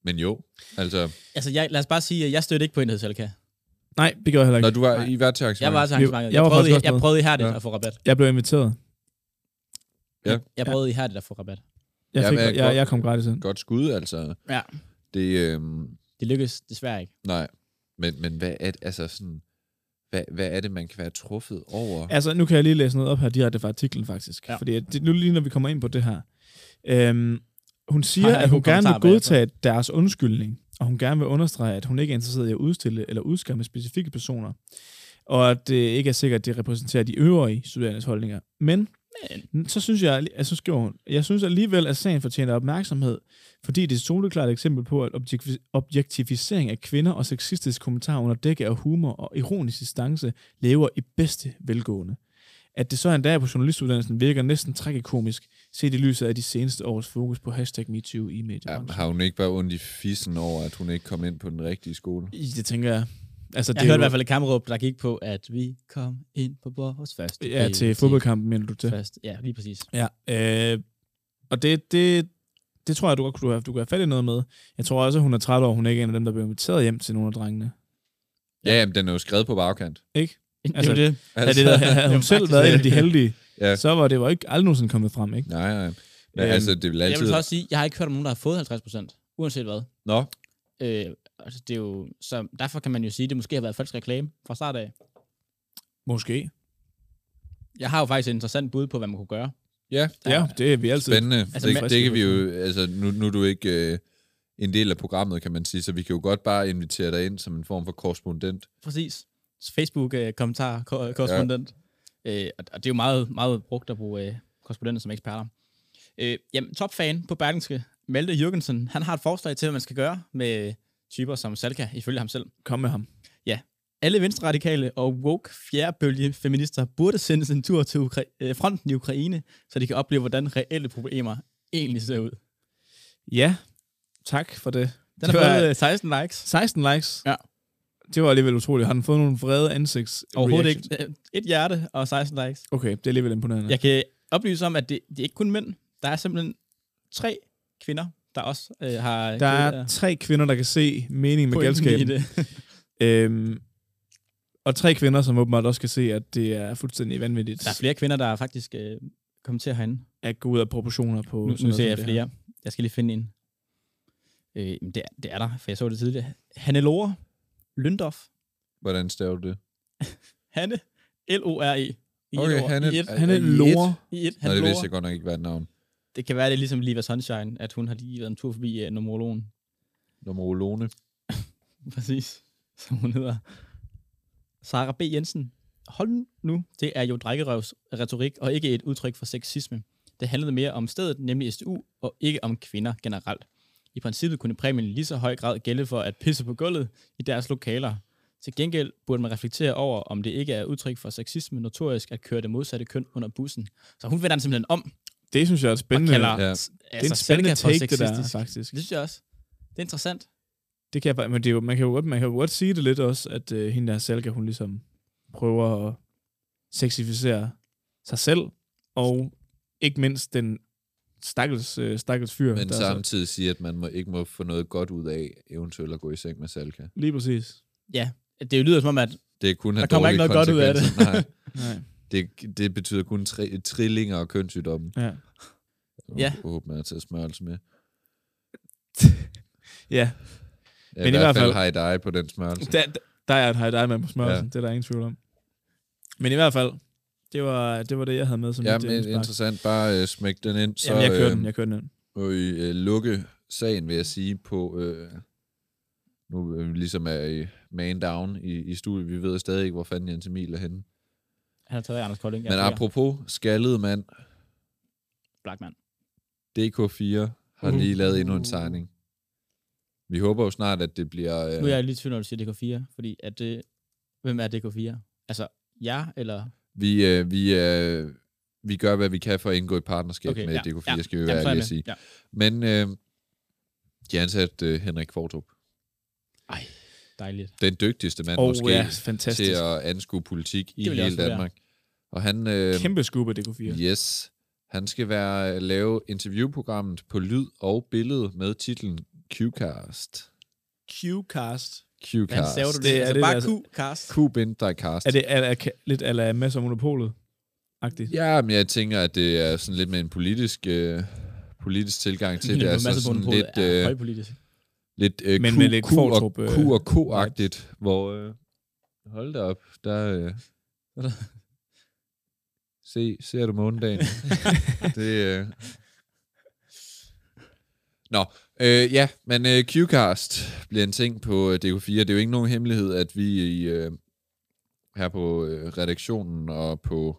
Speaker 7: men jo, altså...
Speaker 8: Altså, jeg, lad os bare sige, at jeg stødte ikke på enhedsalka.
Speaker 3: Nej, det gjorde jeg heller ikke.
Speaker 7: Når du var,
Speaker 8: Nej.
Speaker 7: I var til
Speaker 8: Jeg
Speaker 7: arrangementet...
Speaker 8: var til arrangementet.
Speaker 3: jeg
Speaker 8: Jeg,
Speaker 3: var
Speaker 8: prøvede,
Speaker 3: faktisk
Speaker 8: jeg,
Speaker 3: også
Speaker 8: jeg
Speaker 3: med.
Speaker 8: prøvede ihærdigt
Speaker 7: Ja.
Speaker 8: at få rabat.
Speaker 3: Jeg blev inviteret.
Speaker 7: Ja.
Speaker 8: Jeg prøvede ihærdigt at få rabat.
Speaker 3: Jeg,
Speaker 7: Ja,
Speaker 3: fik,
Speaker 7: men jeg-
Speaker 3: jeg, jeg kom gratis ind.
Speaker 7: Godt skud, altså.
Speaker 8: Ja.
Speaker 7: Det, øh,
Speaker 8: Det lykkedes desværre ikke.
Speaker 7: Nej, men, men hvad er det, altså sådan, hvad, hvad er det, man kan være truffet over?
Speaker 3: Altså, nu kan jeg lige læse noget op her direkte fra artiklen, faktisk.
Speaker 8: Ja.
Speaker 3: Ja. Fordi at det, nu lige når vi kommer ind på det her. Øhm, hun
Speaker 8: Har
Speaker 3: siger,
Speaker 8: jeg
Speaker 3: at hun
Speaker 8: nogle
Speaker 3: gerne
Speaker 8: kommentarer
Speaker 3: vil godtage deres undskyldning, og hun gerne vil understrege, at hun ikke er interesseret i at udstille eller udskamme specifikke personer, og at det ikke er sikkert, at det repræsenterer de øvrige studerendes holdninger. Men så synes jeg, alli- altså, så skriver hun, jeg synes alligevel, at sagen fortjener opmærksomhed, fordi det er et soleklart eksempel på, at objektivi- objektivisering af kvinder og sexistisk kommentar under dække af humor og ironisk distance lever i bedste velgående. At det så endda på journalistuddannelsen virker næsten tragikomisk, set i lyset af de seneste års fokus på hashtag MeToo i
Speaker 7: Ja,
Speaker 3: mediebranchen.
Speaker 7: har hun ikke bare ondt i fissen over, at hun ikke kom ind på den rigtige skole?
Speaker 3: I- Det tænker jeg. Altså,
Speaker 8: Jeg
Speaker 3: det er
Speaker 8: hørte i
Speaker 3: jo-
Speaker 8: hvert fald et kammeråb, der gik på, at vi kom ind på vores første.
Speaker 3: Ja, til fodboldkampen mener du til.
Speaker 8: Fast. Ja, lige præcis.
Speaker 3: Ja, øh, og det, det, det tror jeg, du godt kunne have, du kan have fat i noget med. Jeg tror også, at hun er træt over, at hun ikke er en af dem, der bliver inviteret hjem til nogle af drengene.
Speaker 7: Ja, jamen, den er jo skrevet på bagkant.
Speaker 3: Ikke?
Speaker 8: Altså,
Speaker 3: Altså,
Speaker 8: det er jo det.
Speaker 3: Altså, (laughs) havde, det,
Speaker 8: (laughs)
Speaker 3: havde hun
Speaker 8: faktisk
Speaker 3: selv været en af de heldige,
Speaker 7: Ja.
Speaker 3: ja. så var det jo ikke aldrig nogensinde kommet frem, ikke?
Speaker 7: Nej, nej. Men
Speaker 3: Øhm,
Speaker 7: altså, det vil
Speaker 8: Jeg vil
Speaker 7: altid...
Speaker 8: så også sige, jeg har ikke hørt om nogen, der har fået 50 procent, uanset hvad.
Speaker 7: Nå,
Speaker 8: Øh, altså, det er jo, så derfor kan man jo sige, at det måske har været folks reklame fra start af.
Speaker 3: Måske.
Speaker 8: Jeg har jo faktisk et interessant bud på, hvad man kunne gøre.
Speaker 7: ja,
Speaker 3: Ja, det er vi altid.
Speaker 7: spændende.
Speaker 8: Altså,
Speaker 7: Altså,
Speaker 8: man-
Speaker 7: det, det kan vi jo... Altså, nu, nu er du ikke øh, en del af programmet, kan man sige, så vi kan jo godt bare invitere dig ind som en form for korrespondent.
Speaker 8: Præcis. øh, Facebook-kommentar, korrespondent. Ja. Øh, og- og det er jo meget, meget brugt at bruge øh, korrespondenter som eksperter. Øh, jamen, topfan på Berlingske, Malte Jørgensen, han har et forslag til, hvad man skal gøre med øh, typer som Salka, ifølge ham selv.
Speaker 3: Kom med ham.
Speaker 8: Alle venstreradikale og woke fjerdebølge feminister burde sendes en tur til Ukra- øh, fronten i Ukraine, så de kan opleve, hvordan reelle problemer egentlig ser ud.
Speaker 3: Ja, tak for det.
Speaker 8: Den har
Speaker 3: Det var-
Speaker 8: fået øh, 16 likes.
Speaker 3: 16 likes.
Speaker 8: Ja.
Speaker 3: Det var alligevel utroligt. Har den fået nogle vrede ansigts
Speaker 8: Overhovedet
Speaker 3: reactions?
Speaker 8: ikke. Øh, Et hjerte og 16 likes.
Speaker 3: Okay, det er alligevel imponerende.
Speaker 8: Jeg kan oplyse om, at det, det er ikke kun mænd. Der er simpelthen tre kvinder, der også øh, har...
Speaker 3: Der er tre kvinder, der kan se mening med
Speaker 8: pointen i
Speaker 3: galskaben.
Speaker 8: det.
Speaker 3: Øhm, og tre kvinder, som åbenbart også kan se, at det er fuldstændig vanvittigt
Speaker 8: Der er flere kvinder, der faktisk øh, kommenterer herinde.
Speaker 3: at gå ud af proportioner på...
Speaker 8: Nu,
Speaker 3: sådan
Speaker 8: nu
Speaker 3: noget
Speaker 8: ser
Speaker 3: som
Speaker 8: jeg
Speaker 3: det her.
Speaker 8: flere. Jeg skal lige finde en. Øh, men det, er- det er der, for jeg så det tidligere. Hanne Lore Løndorf.
Speaker 7: Hvordan staver du det?
Speaker 8: Hanne. L-O-R-E. E. I et
Speaker 7: Okay,
Speaker 8: ord.
Speaker 7: han
Speaker 8: I et,
Speaker 7: er...
Speaker 3: Han er
Speaker 7: i et?
Speaker 3: lore.
Speaker 8: i et,
Speaker 7: Nå,
Speaker 8: Hanne
Speaker 7: det
Speaker 8: Lore.
Speaker 7: vidste jeg godt nok ikke, hvad et navn.
Speaker 8: Det kan være, det er ligesom Liva Sunshine, at hun har lige været en tur forbi uh, numerologen.
Speaker 7: Numerolone.
Speaker 8: (laughs) Præcis, som hun hedder. Sara B. Jensen. Hold nu, det er jo drikkerøvs retorik, og ikke et udtryk for sexisme. Det handlede mere om stedet, nemlig SDU, og ikke om kvinder generelt. I princippet kunne præmien i lige så høj grad gælde for at pisse på gulvet i deres lokaler. Til gengæld burde man reflektere over, om det ikke er udtryk for sexisme notorisk at køre det modsatte køn under bussen. Så hun vender den simpelthen om og
Speaker 3: Det synes jeg er et spændende.
Speaker 8: kalder
Speaker 7: ja.
Speaker 8: altså,
Speaker 3: det er en spændende
Speaker 8: Seneca for
Speaker 3: take, det der,
Speaker 8: sexistisk.
Speaker 3: faktisk.
Speaker 8: Det synes jeg også. Det er interessant.
Speaker 3: Det kan jeg, fa- men det er jo, man, kan jo godt, man kan jo godt sige det lidt også, at øh, hende der Salga, hun ligesom prøver at sexificere sig selv, og ikke mindst den stakkels, øh, stakkels fyr,
Speaker 7: Men
Speaker 3: der er så,
Speaker 7: samtidig sige, at man må, ikke må få noget godt ud af eventuelt at gå i seng med Salka.
Speaker 3: lige præcis.
Speaker 8: Det lyder som om, at
Speaker 7: Det er kun
Speaker 8: Der kommer ikke noget godt ud af det.
Speaker 7: Nej,
Speaker 3: Nej.
Speaker 7: det, det betyder kun tri, trillinger og kønssygdomme.
Speaker 3: Ja.
Speaker 8: Ja.
Speaker 7: Jeg håber, man har taget smørelse med.
Speaker 3: ja.
Speaker 7: Ja, Men i, hvert fald har I dig på den smørelse.
Speaker 3: Der, der- der er et hej dig med på smørelsen,
Speaker 7: Ja.
Speaker 3: det er der ingen tvivl om. Men i hvert fald, det var det, var det jeg havde med som
Speaker 7: Ja,
Speaker 3: mit
Speaker 7: men
Speaker 3: indspark.
Speaker 7: interessant. Bare øh, smæk den ind, så
Speaker 3: Jamen, jeg kører
Speaker 7: øh,
Speaker 3: den, jeg kører den. ind.
Speaker 7: må I øh, lukke sagen, vil jeg sige, på... Øh, nu øh, ligesom er I man down i, i studiet. Vi ved stadig ikke, hvor fanden Jens Emil er henne.
Speaker 8: han har taget af Anders Kolding.
Speaker 7: Men apropos skaldet mand,
Speaker 8: Blackman.
Speaker 7: DK4 har lige lavet endnu en tegning. Vi håber jo snart, at det bliver... Øh,
Speaker 8: Nu er jeg lige i tvivl, når du siger DK4, fordi at det, hvem er DK4? Altså, jeg eller...
Speaker 7: Vi, øh, vi, øh, vi gør, hvad vi kan for at indgå et partnerskab okay,
Speaker 8: Okay,
Speaker 7: med
Speaker 8: ja,
Speaker 7: ja, DK4,
Speaker 8: ja.
Speaker 7: ja, skal vi
Speaker 8: Jamen,
Speaker 7: være
Speaker 8: så er jeg
Speaker 7: ærlige
Speaker 8: med.
Speaker 7: at sige.
Speaker 8: Ja.
Speaker 7: Men øh, de ansat øh, Henrik Kvartrup,
Speaker 8: Ej, dejligt.
Speaker 7: den dygtigste mand
Speaker 3: Åh,
Speaker 7: oh,
Speaker 3: oh,
Speaker 7: måske,
Speaker 3: ja,
Speaker 7: ja, til
Speaker 3: fantastisk.
Speaker 7: at anskue politik i
Speaker 8: Det vil jeg også
Speaker 7: hele
Speaker 8: være.
Speaker 7: Danmark. Og han, øh,
Speaker 3: Kæmpe skub af DK4. Yeah.
Speaker 7: yes, han skal være øh, lave interviewprogrammet på lyd og billede med titlen Qcast.
Speaker 3: Q-cast.
Speaker 8: Hvordan
Speaker 7: Qcast.
Speaker 8: saver du
Speaker 3: Det
Speaker 8: det? det
Speaker 3: er
Speaker 8: altså,
Speaker 3: det,
Speaker 8: bare
Speaker 3: der-
Speaker 8: Q, Karst.
Speaker 7: Q-bind dig cast.
Speaker 3: Er det er, er, ka- lidt ala Mads og Monopolet? Agtigt.
Speaker 7: Ja, men jeg tænker, at det er sådan lidt med en politisk, øh, politisk tilgang til det.
Speaker 8: Det er
Speaker 7: Altså
Speaker 8: masser på den
Speaker 7: sådan lidt,
Speaker 8: er
Speaker 7: øh,
Speaker 8: højpolitisk.
Speaker 7: lidt øh,
Speaker 3: Men
Speaker 7: Q,
Speaker 3: med lidt
Speaker 7: Q, og,
Speaker 3: Kvartrup, øh,
Speaker 7: Q og K-agtigt, hvor... Øh, hold da op, der... Øh,
Speaker 8: Hvad er
Speaker 7: se, ser du månedagen? det... Øh. Nå, øh, ja, men øh, Qcast bliver en ting på øh, DK4. Det er jo ikke nogen hemmelighed, at vi i, øh, her på øh, redaktionen og på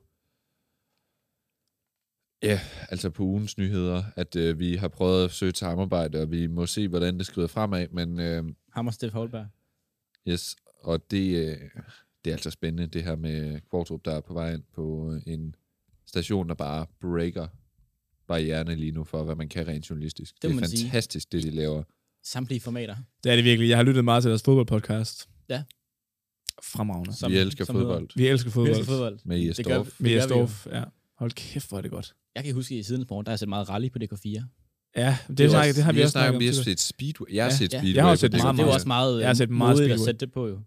Speaker 7: Ja, altså på ugens nyheder, at øh, vi har prøvet at søge et samarbejde, og vi må se, hvordan det skrider fremad, men øh,
Speaker 8: Hammer Steff Holberg.
Speaker 7: yes, og det, øh, det er altså spændende, det her med Kvartrup, der er på vej ind på øh, en station, der bare breaker barrierne lige nu for, hvad man kan rent journalistisk. Det,
Speaker 8: må
Speaker 7: det er
Speaker 8: man sige.
Speaker 7: fantastisk, sige. det de laver.
Speaker 8: Samtlige formater.
Speaker 3: Det er det virkelig. Jeg har lyttet meget til deres fodboldpodcast.
Speaker 8: Ja.
Speaker 3: Fremragende.
Speaker 7: Som, vi elsker fodbold
Speaker 3: Vi elsker
Speaker 8: Hedder, vi
Speaker 3: fodbold.
Speaker 8: elsker fodbold.
Speaker 7: med IS
Speaker 8: Det gør
Speaker 7: Dorf.
Speaker 8: Det
Speaker 3: Vi er
Speaker 8: gør vi
Speaker 3: Storf, ja. Hold kæft, hvor er det godt.
Speaker 8: Jeg kan huske, at i siden morgen, der har jeg set meget rally på DK4.
Speaker 3: Ja, det, det,
Speaker 7: var-
Speaker 3: snakket, det har vi, også snakket om.
Speaker 7: Vi har
Speaker 3: tidligere.
Speaker 7: set Speedway. Jeg har
Speaker 3: Ja,
Speaker 7: set
Speaker 8: ja.
Speaker 7: Speedway.
Speaker 3: Jeg har også
Speaker 7: på
Speaker 3: set
Speaker 7: DK4.
Speaker 3: meget,
Speaker 8: det var også meget, øh,
Speaker 3: Jeg har set meget
Speaker 8: modigt at
Speaker 3: Speedway.
Speaker 8: sætte det på, jo.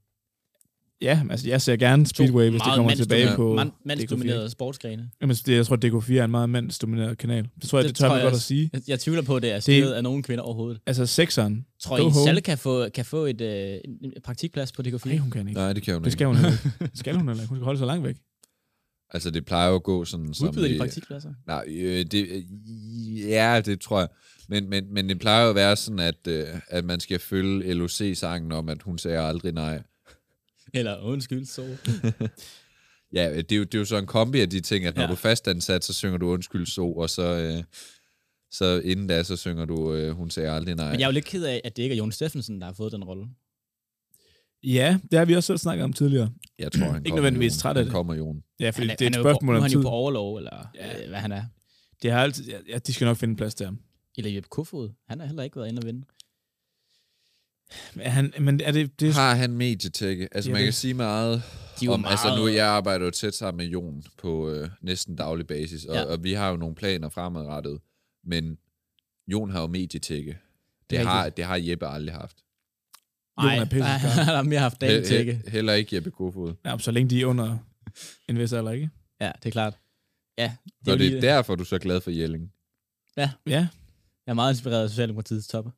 Speaker 3: Ja, altså jeg ser gerne Speedway, hvis det
Speaker 8: meget
Speaker 3: kommer
Speaker 8: mandsdomi-
Speaker 3: tilbage på
Speaker 8: man- mandsdominerede sportsgrene.
Speaker 3: Jamen, det, jeg tror, at DK4 er en meget mandsdomineret kanal. Det tror jeg, det, det tør
Speaker 8: tror
Speaker 3: man
Speaker 8: jeg
Speaker 3: godt at
Speaker 8: også.
Speaker 3: sige.
Speaker 8: Jeg, jeg tvivler på, at det er styret af nogen kvinder overhovedet.
Speaker 3: Altså, sekseren.
Speaker 8: Tror
Speaker 3: Go
Speaker 8: I,
Speaker 3: home.
Speaker 8: Salle kan få, kan få et, øh, en en praktikplads på DK4?
Speaker 3: Nej, hun kan ikke.
Speaker 7: Nej, det kan hun
Speaker 3: Det
Speaker 7: ikke.
Speaker 3: skal hun heller ikke. Det skal hun heller ikke. Hun skal holde sig langt væk.
Speaker 7: Altså, det plejer jo at gå sådan... som
Speaker 8: Udbyder de
Speaker 7: i-
Speaker 8: praktikpladser?
Speaker 7: Nej, øh, det, øh, ja, det tror jeg. Men, men, men det plejer jo at være sådan, at, øh, at man skal følge LOC-sangen om, at hun sagde aldrig nej.
Speaker 8: Eller undskyld, så.
Speaker 7: Ja, øh, det er jo, det er jo så en kombi af de ting, at når
Speaker 8: Ja.
Speaker 7: ja. du er fastansat, så synger du undskyld so, og så, øh, så inden da, så synger du øh, hun sagde aldrig nej.
Speaker 8: Men jeg er jo lidt ked af, at det ikke er Jon Steffensen, der har fået den rolle.
Speaker 3: Ja, det har vi også selv snakket om tidligere.
Speaker 7: jeg tror, han
Speaker 3: ikke
Speaker 7: kommer,
Speaker 3: nødvendigvis
Speaker 7: Jon.
Speaker 3: træt af
Speaker 7: Han
Speaker 3: det.
Speaker 7: kommer, Jon.
Speaker 3: Ja, fordi
Speaker 8: Han
Speaker 3: det er
Speaker 8: han
Speaker 3: et
Speaker 8: jo
Speaker 3: spørgsmål
Speaker 8: på, nu
Speaker 3: om
Speaker 8: er han
Speaker 3: tid.
Speaker 8: jo på overlov, eller øh, hvad han er.
Speaker 3: Det har altid, ja, ja, de skal nok finde plads der.
Speaker 8: Eller Jeppe Kofod. Han har heller ikke været inde og vinde.
Speaker 3: Men, han, men er det, det er,
Speaker 7: Har han medietække? Altså,
Speaker 3: Ja,
Speaker 7: man
Speaker 3: det-
Speaker 7: kan sige meget
Speaker 8: De er jo
Speaker 7: om,
Speaker 8: meget...
Speaker 7: altså nu, jeg arbejder jo tæt sammen med Jon på øh, næsten daglig basis, og,
Speaker 8: Ja.
Speaker 7: ja. og vi har jo nogle planer fremadrettet, men Jon har jo medietække.
Speaker 8: Det
Speaker 7: Det,
Speaker 8: er
Speaker 7: har,
Speaker 8: rigtigt.
Speaker 7: det har Jeppe aldrig haft.
Speaker 8: Nej,
Speaker 3: Jon er pisse skarp.
Speaker 8: (laughs) han har mere haft dagen til ikke.
Speaker 7: He- he- heller ikke Jeppe Kofod.
Speaker 3: ja, så længe de er under en vis alder, ikke?
Speaker 8: Ja, det er klart. Ja, det
Speaker 7: Det
Speaker 8: er jo
Speaker 7: og det er
Speaker 8: lige, der...
Speaker 7: derfor, du er så glad for Jelling.
Speaker 3: Ja,
Speaker 8: Jeg er meget inspireret af Socialdemokratiets topper.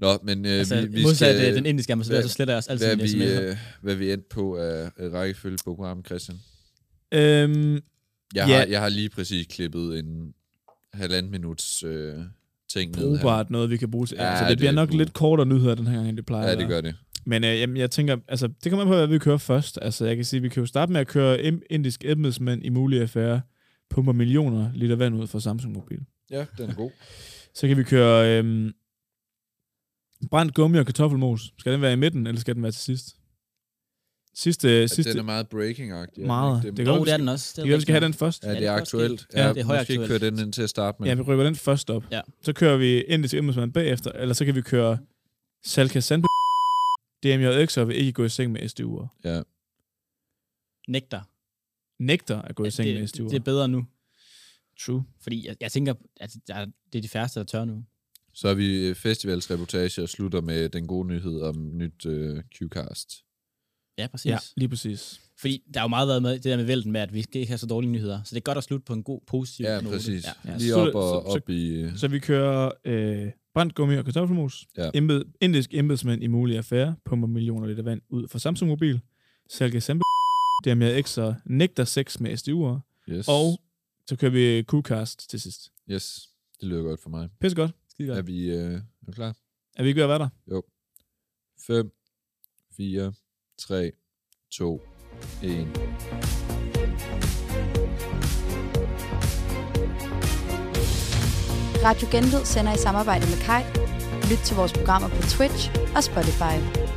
Speaker 7: Nå, men øh,
Speaker 8: altså,
Speaker 7: vi, vi
Speaker 8: modsat
Speaker 7: skal...
Speaker 8: øh, den indiske ambassadør, så
Speaker 7: hvad-
Speaker 8: sletter jeg også altid
Speaker 7: hvad
Speaker 8: mine
Speaker 7: vi,
Speaker 8: sms'er.
Speaker 7: øh, hvad vi endte på af øh, rækkefølge på programmet, Christian.
Speaker 3: øhm,
Speaker 7: Jeg,
Speaker 3: Ja.
Speaker 7: har, jeg har lige præcis klippet en halvanden minuts øh, ting ned her.
Speaker 3: brugbart noget, vi kan bruge til. Ja,
Speaker 7: Ja,
Speaker 3: altså, det,
Speaker 7: det
Speaker 3: det bliver
Speaker 7: er
Speaker 3: nok
Speaker 7: cool.
Speaker 3: lidt kortere nyheder den her gang, end det plejer.
Speaker 7: Ja,
Speaker 3: at være.
Speaker 7: det gør det.
Speaker 3: Men øh, jamen, jeg tænker, altså, det kommer an på, hvad vi kører først. Altså, jeg kan sige, vi kan jo starte med at køre im- indisk embedsmænd i mulige affære. pumper millioner liter vand ud fra Samsung Mobil.
Speaker 7: Ja, den er god.
Speaker 3: Så kan vi køre øhm, brændt gummi og kartoffelmos. Skal den være i midten, eller skal den være til sidst? Sidste,
Speaker 7: Sidste...
Speaker 3: sidste
Speaker 7: Den er meget breaking-agtig.
Speaker 3: Meget.
Speaker 7: Det,
Speaker 3: Det
Speaker 7: det,
Speaker 3: gør-
Speaker 7: det,
Speaker 3: vi
Speaker 8: Jo, det er
Speaker 3: skal-
Speaker 8: den også. Det
Speaker 3: vi kan, vi skal have den først.
Speaker 7: ja, det
Speaker 8: det
Speaker 7: er
Speaker 8: er
Speaker 7: aktuelt.
Speaker 8: godt.
Speaker 7: Ja,
Speaker 8: Ja,
Speaker 7: ja,
Speaker 8: det er
Speaker 7: måske ikke
Speaker 8: højaktuelt.
Speaker 7: køre den ind til at starte med.
Speaker 3: Ja, vi rykker den først op.
Speaker 8: Ja.
Speaker 3: Så kører vi ind til embedsmanden bagefter, eller så kan vi køre Salka Sand DMJX'er vil ikke gå i seng med SDU'er.
Speaker 7: ja.
Speaker 8: Nægter.
Speaker 3: Nægter at gå i seng med
Speaker 8: det,
Speaker 3: SDU'er.
Speaker 8: det er bedre nu.
Speaker 3: True.
Speaker 8: Fordi jeg, jeg tænker, at der er, det er de færreste, der tør nu.
Speaker 7: Så er vi festivalsreportage og slutter med den gode nyhed om nyt øh, Q-cast.
Speaker 8: Ja, præcis.
Speaker 3: Ja,
Speaker 8: Ja.
Speaker 3: lige præcis.
Speaker 8: Fordi der er jo meget været med det der med vælten med, at vi skal ikke have så dårlige nyheder. Så det er godt at slutte på en god, positiv
Speaker 7: Ja,
Speaker 8: note.
Speaker 7: præcis.
Speaker 8: Ja.
Speaker 7: Lige
Speaker 3: Så-
Speaker 7: op og
Speaker 3: så- så-
Speaker 7: op i...
Speaker 3: Så vi kører øh, brændt gummi og kartoffelmos.
Speaker 7: Ja.
Speaker 3: Embed, indisk embedsmand i mulig affære pumper millioner liter vand ud fra Samsung Mobil. Salka Sand DMJX'er nægter sex med SDU'er.
Speaker 7: Yes.
Speaker 3: Og så kører vi Q-cast til sidst.
Speaker 7: Yes, det lyder godt for mig.
Speaker 3: Pisse godt. Skide
Speaker 7: Er
Speaker 3: godt.
Speaker 7: vi, øh, er vi klar?
Speaker 3: Er vi ikke ved at være der?
Speaker 7: 5, 4, 3, 2, 1.
Speaker 1: Radio Genlyd sender i samarbejde med Kai. Lyt til vores programmer på Twitch og Spotify.